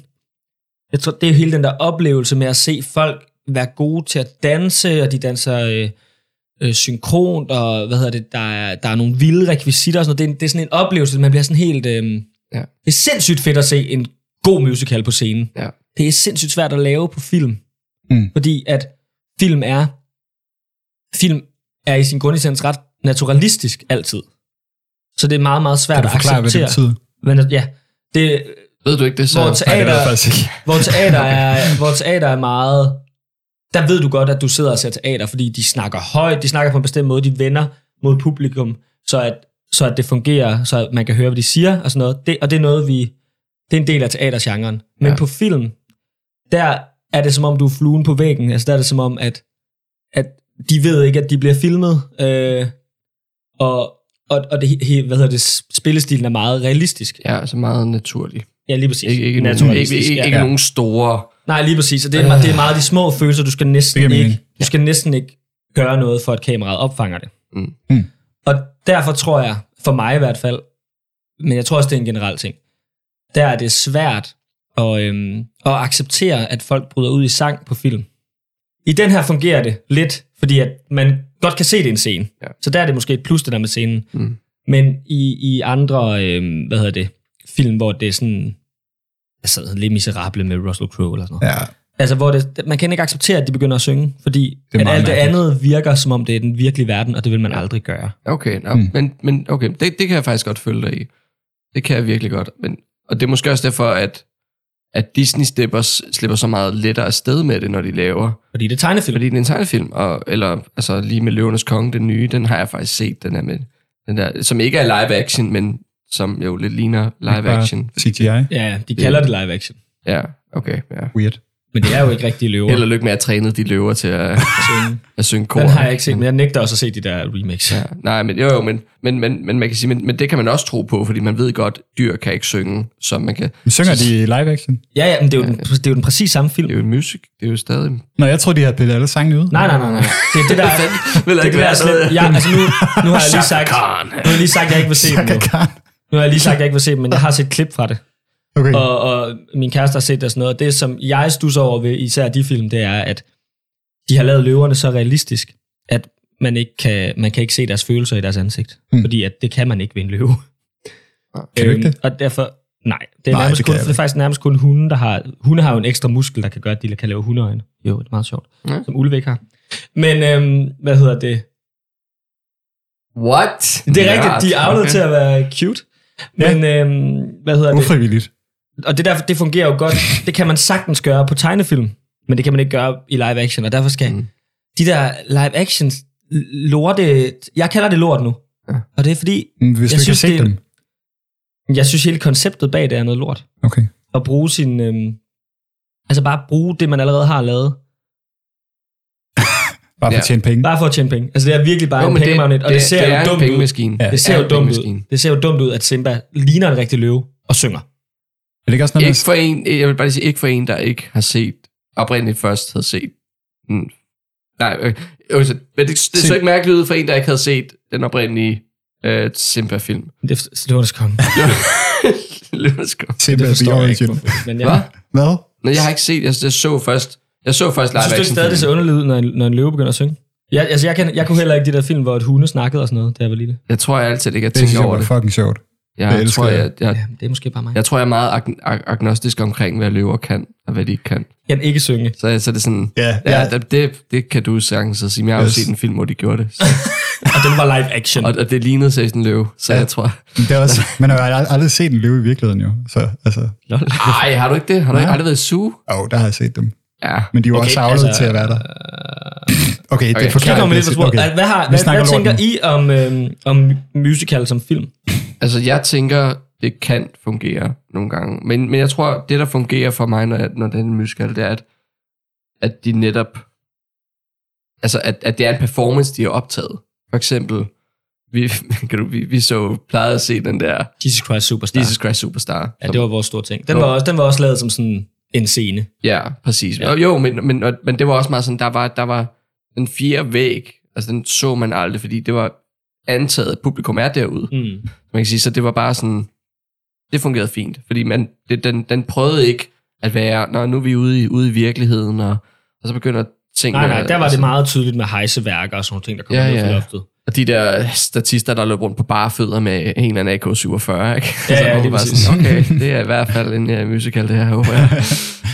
jeg tror, det er jo hele den der oplevelse med at se folk være gode til at danse, og de danser øh, øh, synkront, og hvad hedder det, der er, der er nogle vilde rekvisitter og sådan noget. Det er, en- det er sådan en oplevelse, man bliver sådan helt... Øh,
Ja.
Det er sindssygt fedt at se en god musical på scenen.
Ja.
Det er sindssygt svært at lave på film.
Mm.
Fordi at film er film er i sin grundessens ret naturalistisk altid. Så det er meget, meget svært
Kan du
at
forklare, hvad det
acceptere.
betyder?
Men, ja, det,
Ved du ikke det, så...
hvor
Nej, det ved jeg
teater,
faktisk ikke.
hvor teater, er, hvor teater er meget... Der ved du godt, at du sidder og ser teater, fordi de snakker højt, de snakker på en bestemt måde, de vender mod publikum, så at, så at det fungerer, så at man kan høre, hvad de siger og sådan noget. Det, og det er noget, vi... Det er en del af teatergenren. Men
Ja.
ja. på film, der er det som om, du er fluen på væggen. Altså der er det som om, at, at de ved ikke, at de bliver filmet. Øh, og og, og det, he- hvad hedder det, spillestilen er meget realistisk.
Ja, så meget naturlig.
Ja, lige præcis.
Ikke, ikke, nogen,
Naturalistisk,
ikke, ikke,
ja.
ikke
ja.
nogen store...
Nej, lige præcis. Og det er, meget, det er meget de små følelser, du skal
Øh. Det
næsten
giver
ikke,
mening.
du skal næsten ikke gøre noget, for at kameraet opfanger det.
Mm.
Mm.
Og derfor tror jeg, for mig i hvert fald, men jeg tror også, det er en generel ting, der er det svært at, øhm, at acceptere, at folk bryder ud i sang på film. I den her fungerer det lidt, fordi at man godt kan se, det er en scene.
Ja.
Så der er det måske et plus, det der med scenen.
Mm.
Men i, i andre, øhm, hvad hedder det, film, hvor det er sådan, altså lidt miserable med Russell Crowe eller sådan noget.
Ja,
Altså, hvor det, man kan ikke acceptere, at de begynder at synge, fordi
er
det at
meget
alt det
mærkeligt.
andet virker, som om det er den virkelige verden, og det vil man aldrig gøre.
Okay, no,
Mm.
mm. men, men okay, det, det kan jeg faktisk godt følge dig i. Det kan jeg virkelig godt. Men, og det er måske også derfor, at, at Disney slipper, slipper så meget lettere afsted med det, når de laver.
Fordi det er tegnefilm.
Fordi det er en tegnefilm, og, eller altså, lige med Løvenes Konge, den nye, den har jeg faktisk set, den er med. Den der, som ikke er live action, men som jo lidt ligner live
bare
action.
CGI.
Ja, de kalder det live action.
Ja, okay. Ja.
Weird.
Men det er jo ikke rigtige løver.
Held og lykke med at træne de løver til at,
at synge.
at synge kor.
Den har jeg ikke set, men jeg nægter også at se de der remakes. Ja.
Ja, nej, men jo, jo, men, men, men, men man kan sige, men, men det kan man også tro på, fordi man ved godt, dyr kan ikke synge, så man kan...
Men synger de i live action?
ja, ja, men det er, jo den, det er jo den præcis samme film.
Det er jo musik, det er jo stadig...
Nå, jeg tror, de havde pillet alle sangene ud.
Nej, nej, nej, nej. Det er det, der er...
Vil
Det kan være slet... Ja, altså nu, nu har jeg lige sagt... Nu har jeg lige sagt, at jeg ikke vil se dem
Chaka
nu.
Khan.
Nu har jeg lige sagt, at jeg ikke vil se dem, men jeg har set et klip fra det.
Okay.
Og, og min kæreste har set det og sådan noget. Og det, som jeg stusser over ved især de film, det er, at de har lavet løverne så realistisk, at man ikke kan, man kan ikke se deres følelser i deres ansigt.
Mm.
Mm. Fordi at det kan man ikke ved en løve.
Ah,
Øhm,
Kan du ikke det?
Og derfor, nej. Det er,
Nej,
nej, nærmest
det
det,
kan
kun,
jeg
det er
ikke.
faktisk nærmest kun hunde, der har... Hunde har jo en ekstra muskel, der kan gøre, at de kan lave hundeøjne. Jo, det er meget sjovt.
Ja.
Som ulve ikke har. Men øhm, hvad hedder det?
What?
Det er rigtigt, de er afledt okay. til at være cute. Men øhm, hvad hedder det?
Ufrivilligt.
og det, derfor, det fungerer jo godt. Det kan man sagtens gøre på tegnefilm, men det kan man ikke gøre i live action, og derfor skal
Mm.
mm. de der live action lorte... Jeg kalder det lort nu.
Ja.
Ja. Og det er fordi,
Men Hvis
Jeg
du ikke
synes,
har set
det er-
dem.
jeg synes hele konceptet bag det er noget lort.
Okay.
At bruge sin... Øhm, altså bare bruge det, man allerede har lavet.
Bare for
Ja.
at tjene penge.
Bare for at tjene penge. Altså det er virkelig bare jo, en pengemagnet, og det, ser
det er
jo
en
dumt ud.
pengemaskine.
Ja.
Det ser
er
jo
en
dumt ud.
pengemaskine.
Det ser jo dumt ud, at Simba ligner en rigtig løve og synger.
Er det ikke også noget,
Ikke
med,
for en, jeg vil bare lige sige, ikke for en, der ikke har set, oprindeligt først havde set. Mm. Nej, øh, øh, så- men det, det så
Se-
ikke mærkeligt ud for en, der ikke havde set den oprindelige øh, Simba-film.
Det er løvernes konge.
Løvenes Konge.
Simba
Det
the
forstår jeg ikke.
Origin?
hvorfor. Men jeg,
Hvad?
Hvad?
Nej, jeg har ikke set, jeg, jeg så først, jeg så først live
Jeg synes det stadig, det ser
action
underligt ud, når en, når en løve begynder at synge. Jeg, altså, jeg, kan, jeg kunne heller ikke de der film, hvor et hunde snakkede og sådan noget, da jeg var lille.
Jeg tror jeg altid ikke, jeg
Det synes
tænker
jeg
over
var
det.
fucking sjovt. det
Jeg
elsker
tror,
jeg.
jeg, jeg,
Ja, det er måske bare mig. Ja.
jeg tror, jeg er meget ag- ag- agnostisk omkring, hvad løver kan, og hvad de ikke kan.
Jeg kan ikke synge.
Så, så er det sådan,
Ja,
ja,
ja.
det- det, det kan du sagtens at sige. Men jeg har jo
Yes.
set en film, hvor de gjorde det. Så,
Og den var live action.
og, og det lignede seriøst en løve, så
Ja.
jeg tror...
Men Det er også, man har jo ald- aldrig set en løve i virkeligheden jo. Så altså,
Lol.
Nej, har du ikke det? Har du
Nej.
ikke aldrig været i zoo?
åh, oh, der har jeg set dem.
Ja.
Men de er jo okay, også savlet altså, til at være der. Okay, det
okay.
okay.
Kan
forklarer
jeg komme lidt på
det.
sporet? Okay. Hvad, har,
Vi
hvad,
snakker
hvad
lort
tænker
nu.
I om, øhm, om musical som film?
Altså, jeg tænker, det kan fungere nogle gange. Men, men jeg tror, det, der fungerer for mig, når, jeg, når det er en musical, det er, at, at de netop... Altså, at, at det er en performance, de har optaget. For eksempel, vi, kan du, vi, vi så plejede at se den der
Jesus Christ Superstar.
Jesus Christ Superstar.
Ja,
som-
det var vores store ting. Den
Nå.
var, også, den var også lavet som sådan en scene.
Ja, præcis.
Ja.
Ja. Jo, men, men, og- men det var også meget sådan, der var, der var den fjerde væg, altså den så man aldrig, fordi det var antaget, at publikum er derude.
Mm.
Man kan sige, så det var bare sådan, det fungerede fint, fordi man, det, den, den prøvede ikke at være, Nå, nu er vi ude i, ude i virkeligheden, og, og så begynder tingene...
Nej, nej, der var
altså,
det meget tydeligt med hejseværker og sådan nogle ting, der kom ja,
Ja,
ned fra
ja.
loftet.
Og de der statister, der løb rundt på bare fødder med en eller anden AK-47, ikke?
Ja,
Så
ja,
man
lige
var
præcis.
sådan, Okay, det er i hvert fald en uh, musical, det her, håber jeg.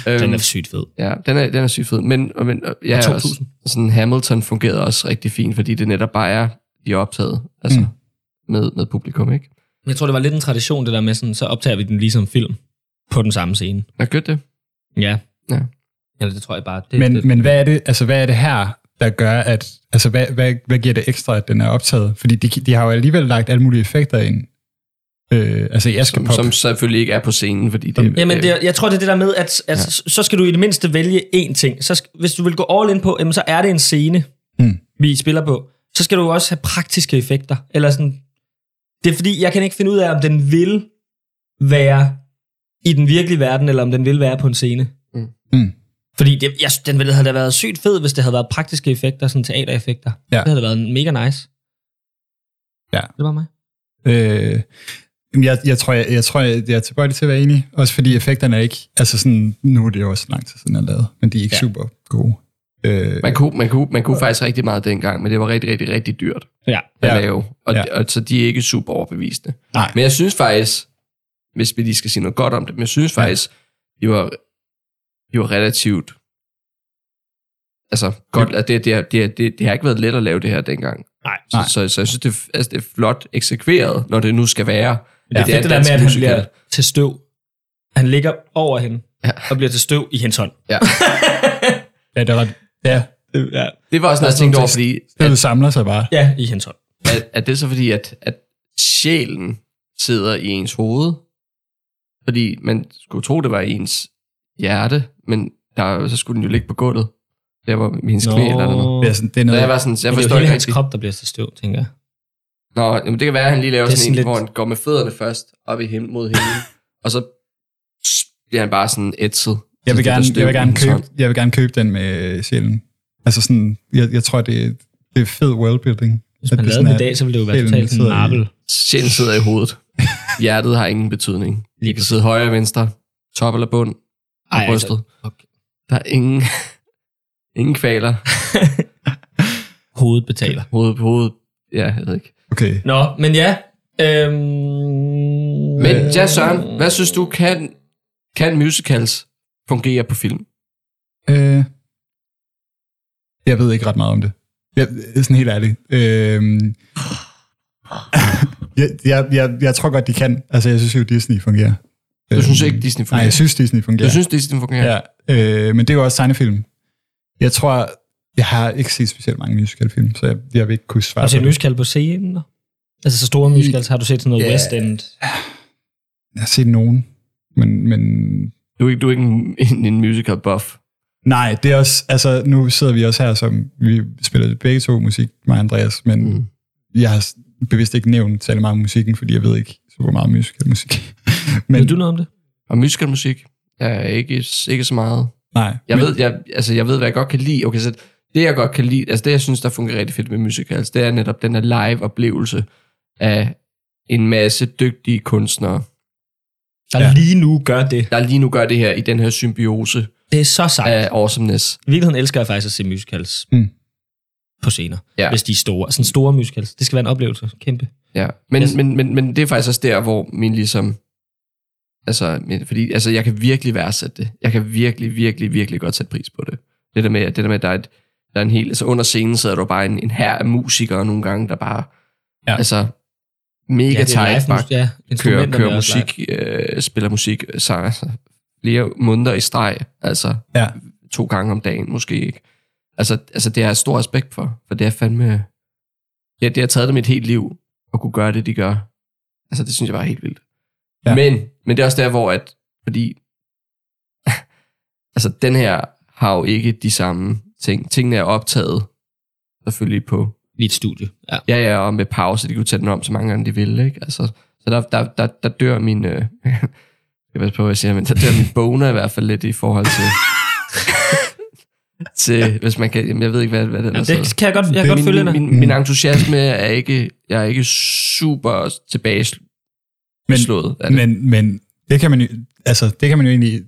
Den
Øhm,
er sygt fed.
Ja, den er, den er sygt fed. Men, og- men og- ja, altså-
Og 2000.
også, sådan Hamilton fungerede også rigtig fint, fordi det netop bare er, de er optaget altså,
Mm.
mm. med, med publikum, ikke?
Men jeg tror, det var lidt en tradition, det der med sådan, så optager vi den ligesom film på den samme scene.
Er godt det?
Ja.
Ja.
Eller det tror jeg bare. Det, det,
Men, men hvad, er det, altså, hvad er det her, der gør, at... Altså, hvad, hvad, hvad giver det ekstra, at den er optaget? Fordi de, de har jo alligevel lagt alle mulige effekter ind. Øh, altså, jeg skal
Som,
pop.
som selvfølgelig ikke er på scenen, fordi det...
Jamen, det,
er...
er- jeg tror, det er det der med, at, at ja. så skal du i det mindste vælge én ting. Så skal, hvis du vil gå all in på, jamen, så er det en scene,
Mm.
vi spiller på. Så skal du også have praktiske effekter. Eller sådan. Det er fordi, jeg kan ikke finde ud af, om den vil være i den virkelige verden, eller om den vil være på en scene.
Mm.
Mm.
Fordi det, jeg, den ville have da været sygt fed, hvis det havde været praktiske effekter, sådan teatereffekter.
Ja.
Det havde da været mega nice.
Ja.
Det var mig.
Øh, jamen, jeg, jeg, tror, jeg, jeg tror, jeg, jeg er tilbøjelig til at være enig. Også fordi effekterne er ikke... Altså, sådan, nu er det jo også lang tid siden, jeg lavede, men de er ikke
Ja.
ja. super gode. Øh,
Man kunne, man, kunne, man kunne faktisk rigtig meget dengang, men det var rigtig, rigtig, rigtig dyrt
Ja.
at
Ja.
ja. lave, og,
Ja.
ja. og, så de er ikke super overbevisende.
Nej.
Men jeg synes faktisk, hvis vi lige skal sige noget godt om det, men jeg synes
Ja.
faktisk, de var, de var relativt... Altså, godt, at det, det, har- det, har- det, det har ikke været let at lave det her dengang.
Nej.
Nej.
Så, så, så jeg synes, det, er- altså, det er flot eksekveret, når det nu skal være.
Men det,
Ja.
det er
Det
det
er en
der med, at
dansk
han
musical.
bliver til støv. Han ligger over hende ja.
Ja.
og bliver til støv i hendes hånd.
Ja.
ja, det er ret... Ja,
ja.
Det var også
Altså,
noget, jeg tænkte over, fordi
det samler sig bare.
ja, i hendes hånd.
er, er det så fordi, at, at sjælen sidder i ens hoved? Fordi man skulle tro, det var i ens hjerte, men der, så skulle den jo ligge på gulvet. Der var hendes knæ eller noget.
Det er, sådan, det
Så
er
jeg
noget...
var sådan, jeg
jeg
forstår
forstår det er jo
ikke
hele hans
rigtigt.
krop, der bliver til støv, tænker jeg.
Nå, jamen det kan være, at han lige laver
Det er
sådan, sådan
sådan
en,
lidt-
lidt... hvor han går med fødderne først op i him, mod himlen, og så bliver han bare sådan ætset. Så
Jeg vil,
det
gerne,
der støv
jeg, vil
i
gerne
hans hånd.
købe, jeg vil gerne købe den med sjælen. Altså sådan, jeg, jeg tror, det, er- det er fed worldbuilding.
Hvis
at
man
det
lavede den
sådan
i dag,
er-
så ville det jo være
sjælen
totalt sådan
sidder i-
marvel.
Sjælen sidder i hovedet. Hjertet har ingen betydning.
Lige
Det kan sidde højre og venstre, top eller bund, på
Ej,
brystet.
altså, okay.
Der er ingen, ingen kvaler.
altså, Hovedet betaler.
Hoved på hovedet. Ja, jeg ved ikke.
Okay.
Nå, men ja. Øhm,
Men
Øh,
ja, Søren, hvad synes du, kan, kan musicals fungere på film?
Øh, jeg ved ikke ret meget om det. Jeg, sådan helt ærligt. Øh, jeg, jeg, jeg, jeg tror godt, de kan. Altså, jeg synes jo, Disney fungerer. Øhm,
Du synes ikke, Disney
Øh, Nej,
fungerer?
jeg synes, Disney
Du
fungerer.
synes, Disney fungerer?
Ja, øh, men det er jo også tegnefilm. Jeg tror, jeg har ikke set specielt mange musicalfilm, så jeg, jeg vil ikke kunne svare
Har du
på
set
det.
musical på scenen? Altså så store musicals, har du set sådan noget
Ja.
yeah. West End?
Jeg har set nogen, men, men
Du, er ikke, du er ikke en, en, en musical buff.
Nej, det er også, altså nu sidder vi også her, som vi spiller begge to musik, mig og Andreas, men mm.
Mm.
jeg har s- bevidst ikke nævnt særlig meget om musikken, fordi jeg ved ikke super meget om musical musik. men
Ved du noget om det?
Og musicalmusik? Jeg er ikke, ikke så meget.
nej,
Jeg,
men,
ved, jeg, altså, jeg ved, hvad jeg godt kan lide. Okay, så det, jeg godt kan lide, altså det, jeg synes, der fungerer rigtig fedt med musicals, det er netop den der live-oplevelse af en masse dygtige kunstnere,
Der
Ja.
lige nu gør det.
der lige nu gør det her i den her symbiose
Det er så sejt.
af awesomeness.
I virkeligheden elsker jeg faktisk at se musicals
Mm.
på scener, ja.
Ja.
hvis de er store. Altså, Sådan store musicals. Det skal være en oplevelse. Kæmpe.
Ja. Men,
Yes.
yes. men, men, men det er faktisk også der, hvor min ligesom... Altså, min, fordi altså, jeg kan virkelig værdsætte det. Jeg kan virkelig, virkelig, virkelig godt sætte pris på det. Det der med, det der med at der er, et, der er en hel... Altså, under scenen sidder du bare en, en her af musikere nogle gange, der bare...
Ja.
Ja. Altså, mega ja,
det er
tight,
live
bare
mus- ja,
kører,
instrumenterne er
kører
også live.
musik, øh, spiller musik, så altså, flere måneder i streg, altså
Ja.
to gange om dagen, måske ikke. Altså, altså det har jeg stor respekt for, for det er fandme... Ja, det har taget dem et helt liv, at kunne gøre det, de gør. Altså, det synes jeg bare er helt vildt.
Ja.
Ja. Men, men det er også der, hvor at... Fordi... altså, den her har jo ikke de samme ting. Tingene er optaget, selvfølgelig på
i et studie. Ja.
Ja, ja, og med pause, de kunne tage den om så mange gange, de ville, ikke? Altså, så der, der, der, der dør min... Øh, jeg ved på, hvad jeg siger, men der dør min boner i hvert fald lidt i forhold til... til hvis man kan... Jamen, jeg ved ikke, hvad, hvad den er.
Jamen,
så-
det kan jeg godt, jeg
Det
kan
er
godt
min,
følge dig.
min, min, min entusiasme er ikke... Jeg er ikke super tilbageslået
Men-
af det.
Men, men det, kan man jo, altså, det kan man jo egentlig...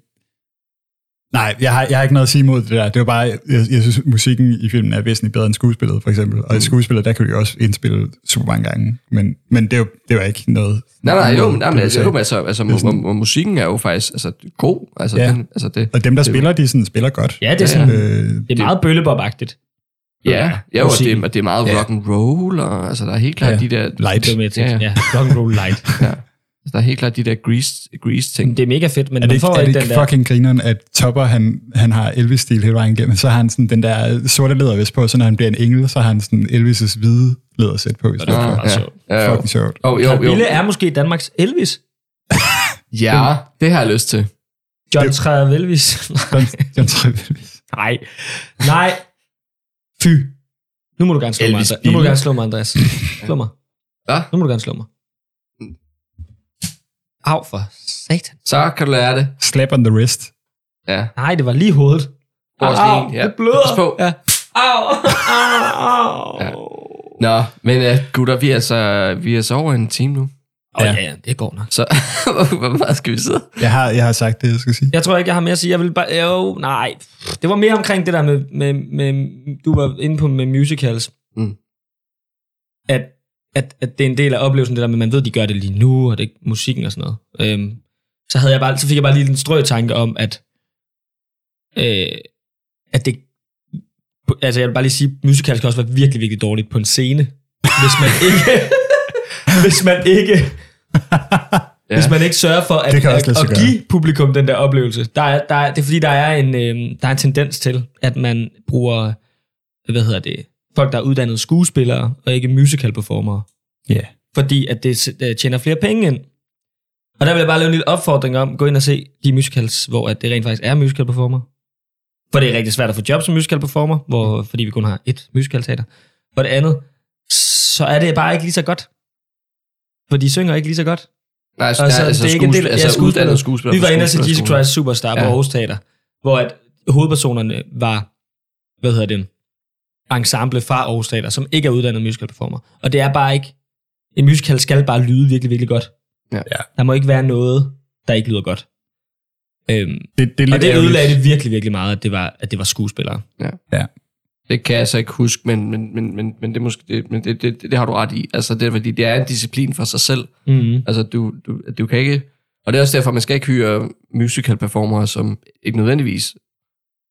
Nej, jeg har, jeg har ikke noget at sige imod det der. Det var bare, jeg, jeg synes, musikken i filmen er væsentligt bedre end skuespillet, for eksempel.
Mm.
Og i skuespillet, der kan vi også indspille super mange gange. Men, men det, var, det var ikke noget...
Nej, nej, jo,
noget,
men, nej,
det
men
du
altså,
sagde.
jo, men altså, altså
Det er sådan-
mu- mu- musikken er jo faktisk altså, god. Altså,
Ja.
ja. den, altså det,
Og dem, der
det er jo-
spiller, de sådan, spiller godt.
Ja, det er,
Ja,
sådan,
Øh,
det er meget bøllebobagtigt.
ja, ja, og
musikken.
det, og det er meget
Ja.
rock and roll, og altså, der er helt klart
Ja.
ja. de der...
light.
Det var med, jeg tænkte.
Ja,
Ja, ja. Rock and roll light.
Ja. Altså, der er helt klart de der grease, grease ting.
Det er mega fedt, men
Er det
man
ikke,
får
er det
ikke den
ikke
der...
fucking grineren, at Topper, han, han har Elvis-stil hele vejen igennem, så har han sådan den der sorte lædervest på, så når han bliver en engel, så har han sådan Elvis' hvide lædersæt på. Det
det var
er
meget sjovt.
Ah, ja.
fucking sjovt.
Oh, jo, jo.
Ville er måske Danmarks Elvis.
Ja, det har jeg lyst til.
John
Det-
Travelvis.
John, John Travolta.
Nej. Nej. Fy. Nu må du gerne slå mig,
Elvis
Andreas. Nu må du
Bille.
gerne slå mig, Andreas. Slå mig.
Hvad?
Nu må du gerne slå mig. Au for satan.
Så kan du lære det.
Slap on the wrist.
Ja.
Nej, det var lige hovedet.
Prøv også lige en, ja.
Ah, det bløder.
Pas på.
Ja. Au, au, au.
Ja.
Ja.
Nå, men uh, gutter, vi er, så, vi er så over en time nu.
Oh, ja. ja, det går nok.
Så hvor meget skal vi sidde?
Jeg har, jeg har sagt det, jeg skal sige.
Jeg tror ikke, jeg har mere at sige. Jeg vil bare... Jo, nej. Det var mere omkring det der med... med, med du var inde på med musicals.
Mm.
At, at, at det er en del af oplevelsen, det der med, at man ved, de gør det lige nu, og det er musikken og sådan noget. Øhm, så, havde jeg bare, så fik jeg bare lige en strø tanke om, at... Øh, at det... Altså, jeg vil bare lige sige, at musicals kan også være virkelig, virkelig dårligt på en scene. Hvis man ikke... hvis man ikke...
Ja.
Ja. Hvis man ikke sørger for at,
Det kan også
at,
lade sig
at
gøre.
give publikum den der oplevelse. Der er, der er, det er fordi, der er, en, øh, der er en tendens til, at man bruger hvad hedder det, folk, der er uddannede skuespillere og ikke musical performere.
Ja. Yeah.
Fordi at det s- øh, tjener flere penge ind. Og der vil jeg bare lave en lille opfordring om, gå ind og se de musicals, hvor at det rent faktisk er musical performer. For det er rigtig svært at få job som musical performer, hvor, fordi vi kun har et musical teater. For det andet, så er det bare ikke lige så godt. For de synger ikke lige så godt.
Nej, altså,
Altså,
der, altså,
det er ikke en del af
skuespil- altså,
skuespillet.
uddannede skuespillere.
Vi var
på
inde og se Jesus
skuespillerskolen.
Christ Superstar på
Ja.
Aarhus Teater, hvor at hovedpersonerne var, hvad hedder det, ensemble fra Aarhus Teater, som ikke er uddannet musical performer. Og det er bare ikke, en musical skal bare lyde virkelig, virkelig godt.
Ja.
Ja.
Der må ikke være noget, der ikke lyder godt. Øhm,
Det, det er lidt
og det
ærgerligt.
ødelagde det virkelig, virkelig meget, at det var, at det var skuespillere.
Det kan jeg så ikke huske, men, men, men, men, men, det, er måske, det, men det, det, det, har du ret i. Altså, det, er, fordi det er en disciplin for sig selv.
Mm-hmm.
Altså, du, du, du kan ikke... Og det er også derfor, man skal ikke hyre musical performere, som ikke nødvendigvis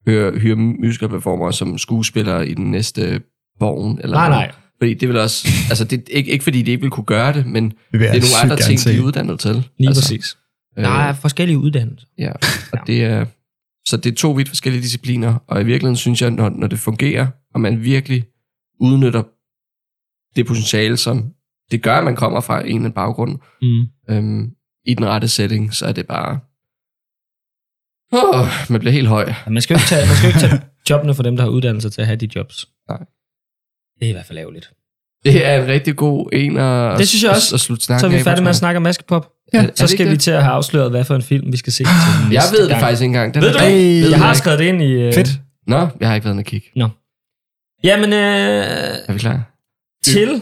hyre, hyre musical performere som skuespillere i den næste vogn. Eller
Nej,
noget.
nej.
Fordi det vil også... Altså, det, ikke, ikke fordi de ikke vil kunne gøre det, men
Det, vil jeg
det er nogle
sygt
andre
gerne
ting,
se.
de er uddannet til.
Lige
altså,
altså, præcis.
Øh,
Der er forskellige uddannelser.
ja, og det er, så det er to vidt forskellige discipliner, og i virkeligheden synes jeg, når, når det fungerer, og man virkelig udnytter det potentiale, som det gør, at man kommer fra en eller anden baggrund,
Mm.
øhm, i den rette setting, så er det bare... Oh, man bliver helt høj.
Ja, Man skal jo ikke tage, man skal jo ikke tage jobbene for dem, der har uddannelse til at have de jobs.
Nej.
Det er i hvert fald ærgerligt.
Det er en rigtig god en at,
Det synes jeg
at-
også.
at slutte snakken
Så er vi
af på,
færdige
tror
med at
jeg.
snakke om Maskepop.
Er- er
Så
det
skal
ikke
vi
det?
til at have afsløret, hvad for en film vi skal se til
Jeg
næste
ved det
gang.
faktisk ikke engang. Den
Ved
er-
du
Ej,
det?
ved
Jeg har
jeg ikke.
skrevet det ind i... øh,
Fedt.
Nå, jeg har ikke været inde og kigge.
Jamen, øh,
Er vi klar?
til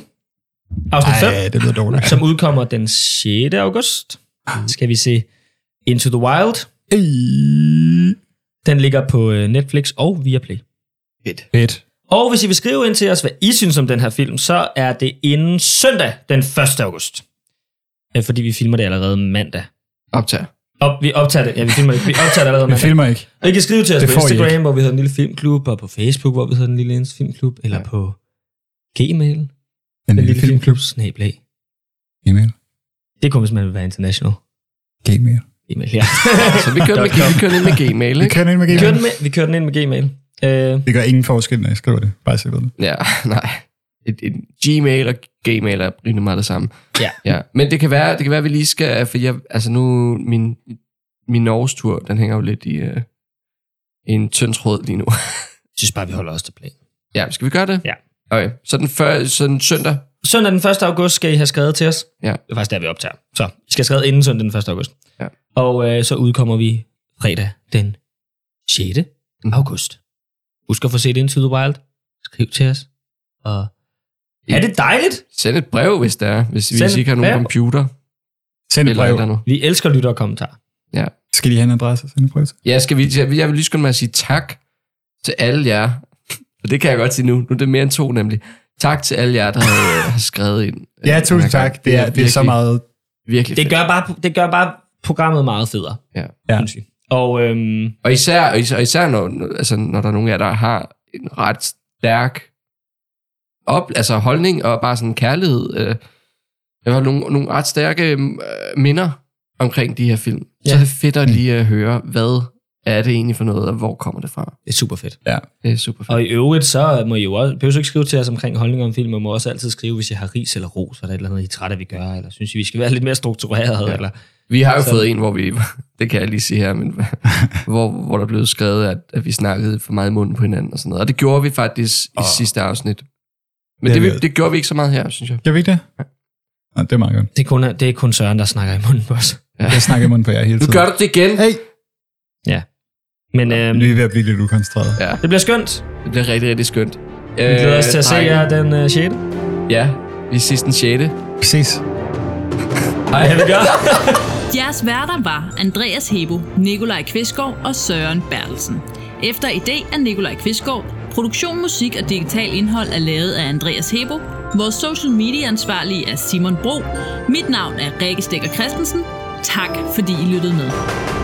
afsnit 5,
Ej, det lyder dårligt.
som udkommer den 6. august, skal vi se Into the Wild.
Ej.
Den ligger på øh, Netflix og Viaplay.
Fedt.
Fedt.
Og hvis I vil skrive ind til os, hvad I synes om den her film, så er det inden søndag den 1. august. Øh, Fordi vi filmer det allerede mandag.
Optager.
Op, vi optager det. Ja, vi filmer det. Vi optager det allerede
Vi
mandag.
filmer ikke.
Og I kan skrive til os
Det
på
får I
Instagram, hvor vi hedder Den Lille Filmklub, og på Facebook, hvor vi hedder Den Lille Filmklub, eller
Ja.
på Gmail, Den,
Den
Den
lille
Lille
film.
Filmklub, snablag.
Gmail.
Det kunne simpelthen være international.
Gmail.
Gmail, ja.
Så vi kører, med, vi kører ned med Gmail,
Vi
ikke?
kører den ind med
Vi kører
Gmail.
den, med, vi kører den ind med Gmail. Øh,
Det gør ingen forskel, når jeg skriver det. Bare så jeg ved det.
Ja, nej. Et, et Gmail og Gmail er rimelig meget det samme.
Ja.
ja. Men det kan være, det kan være, at vi lige skal, for jeg, altså nu, min, min Norges tur, den hænger jo lidt i, øh, i en tynd tråd lige nu.
jeg synes bare, vi holder os til plan.
ja, skal vi gøre det?
Ja.
Okay, så den, før, så den søndag,
Søndag den 1. august skal I have skrevet til os.
Ja.
Det er faktisk der, vi optager. Så I skal have skrevet inden søndag den 1. august.
Ja.
Og øh, så udkommer vi fredag den 6.
Mm.
Mm. august. Husk at få set Into the Wild. Skriv til os. Og er det dejligt?
send et brev, hvis der er, hvis,
Send
hvis I ikke har
et
nogen
brev.
computer
Send et
eller et
brev.
eller andet.
Vi elsker lytter og kommentarer.
Skal de have en adresse og sende et brev til?
Ja, skal vi, jeg vil- jeg vil lige skynde mig at sige tak til alle jer. For det kan jeg godt sige nu. Nu er det mere end to nemlig. Tak til alle jer, der har, øh, har skrevet ind.
Ja,
Øh,
tusind
den her
tak.
gang.
Det er, det er så
virkelig-
meget.
Virkelig
Det
fedt.
gør bare, det gør bare programmet meget federe.
Ja.
Ja.
Synes vi. Og øhm,
Og især, og især, og især når, når- altså, når der er nogen af jer, der har en ret stærk op, altså holdning og bare sådan kærlighed. Øh, jeg har nogle, nogle ret stærke øh, minder omkring de her film. Ja. Så
Ja.
er det fedt at lige at høre, hvad er det egentlig for noget, og hvor kommer det fra?
det er super fedt.
Det er super fedt.
Og i øvrigt, så må I jo også, behøver I ikke skrive til os omkring holdninger om film, og må også altid skrive, hvis I har ris eller ros, eller et eller andet, I er trætte, af, vi gør, eller synes I, vi skal være lidt mere struktureret,
Ja.
ja. eller
Vi har jo
Så-
fået en, hvor vi, det kan jeg lige sige her, men hvor, hvor der blev skrevet, at, at vi snakkede for meget i munden på hinanden og sådan noget. Og det gjorde vi faktisk i
Åh.
sidste afsnit. Men
Det
det,
er
det,
vi-
det gjorde vi ikke så meget her, synes jeg.
Gør vi ikke det? Nå, det er meget godt.
det er, kun, det er kun Søren, der snakker i munden på os.
Jeg snakker i munden på jer hele
Nu
tiden.
gør du det igen.
Hey!
Men øhm,
Vi er ved at blive lidt ukoncentreret.
Ja,
det bliver skønt.
det bliver rigtig, rigtig skønt.
Vi glæder os til at se
drenge.
jer den øh, 6.
Ja, vi ses den 6.
Vi ses.
Ej, ja, vi gør.
Jeres værter var Andreas Hebo, Nikolaj Kvistgaard og Søren Bertelsen. Efter idé af Nikolaj Kvistgaard, produktion, musik og digital indhold er lavet af Andreas Hebo. Vores social media ansvarlige er Simon Bro. Mit navn er Rikke Stikker Christensen. Tak fordi I lyttede med.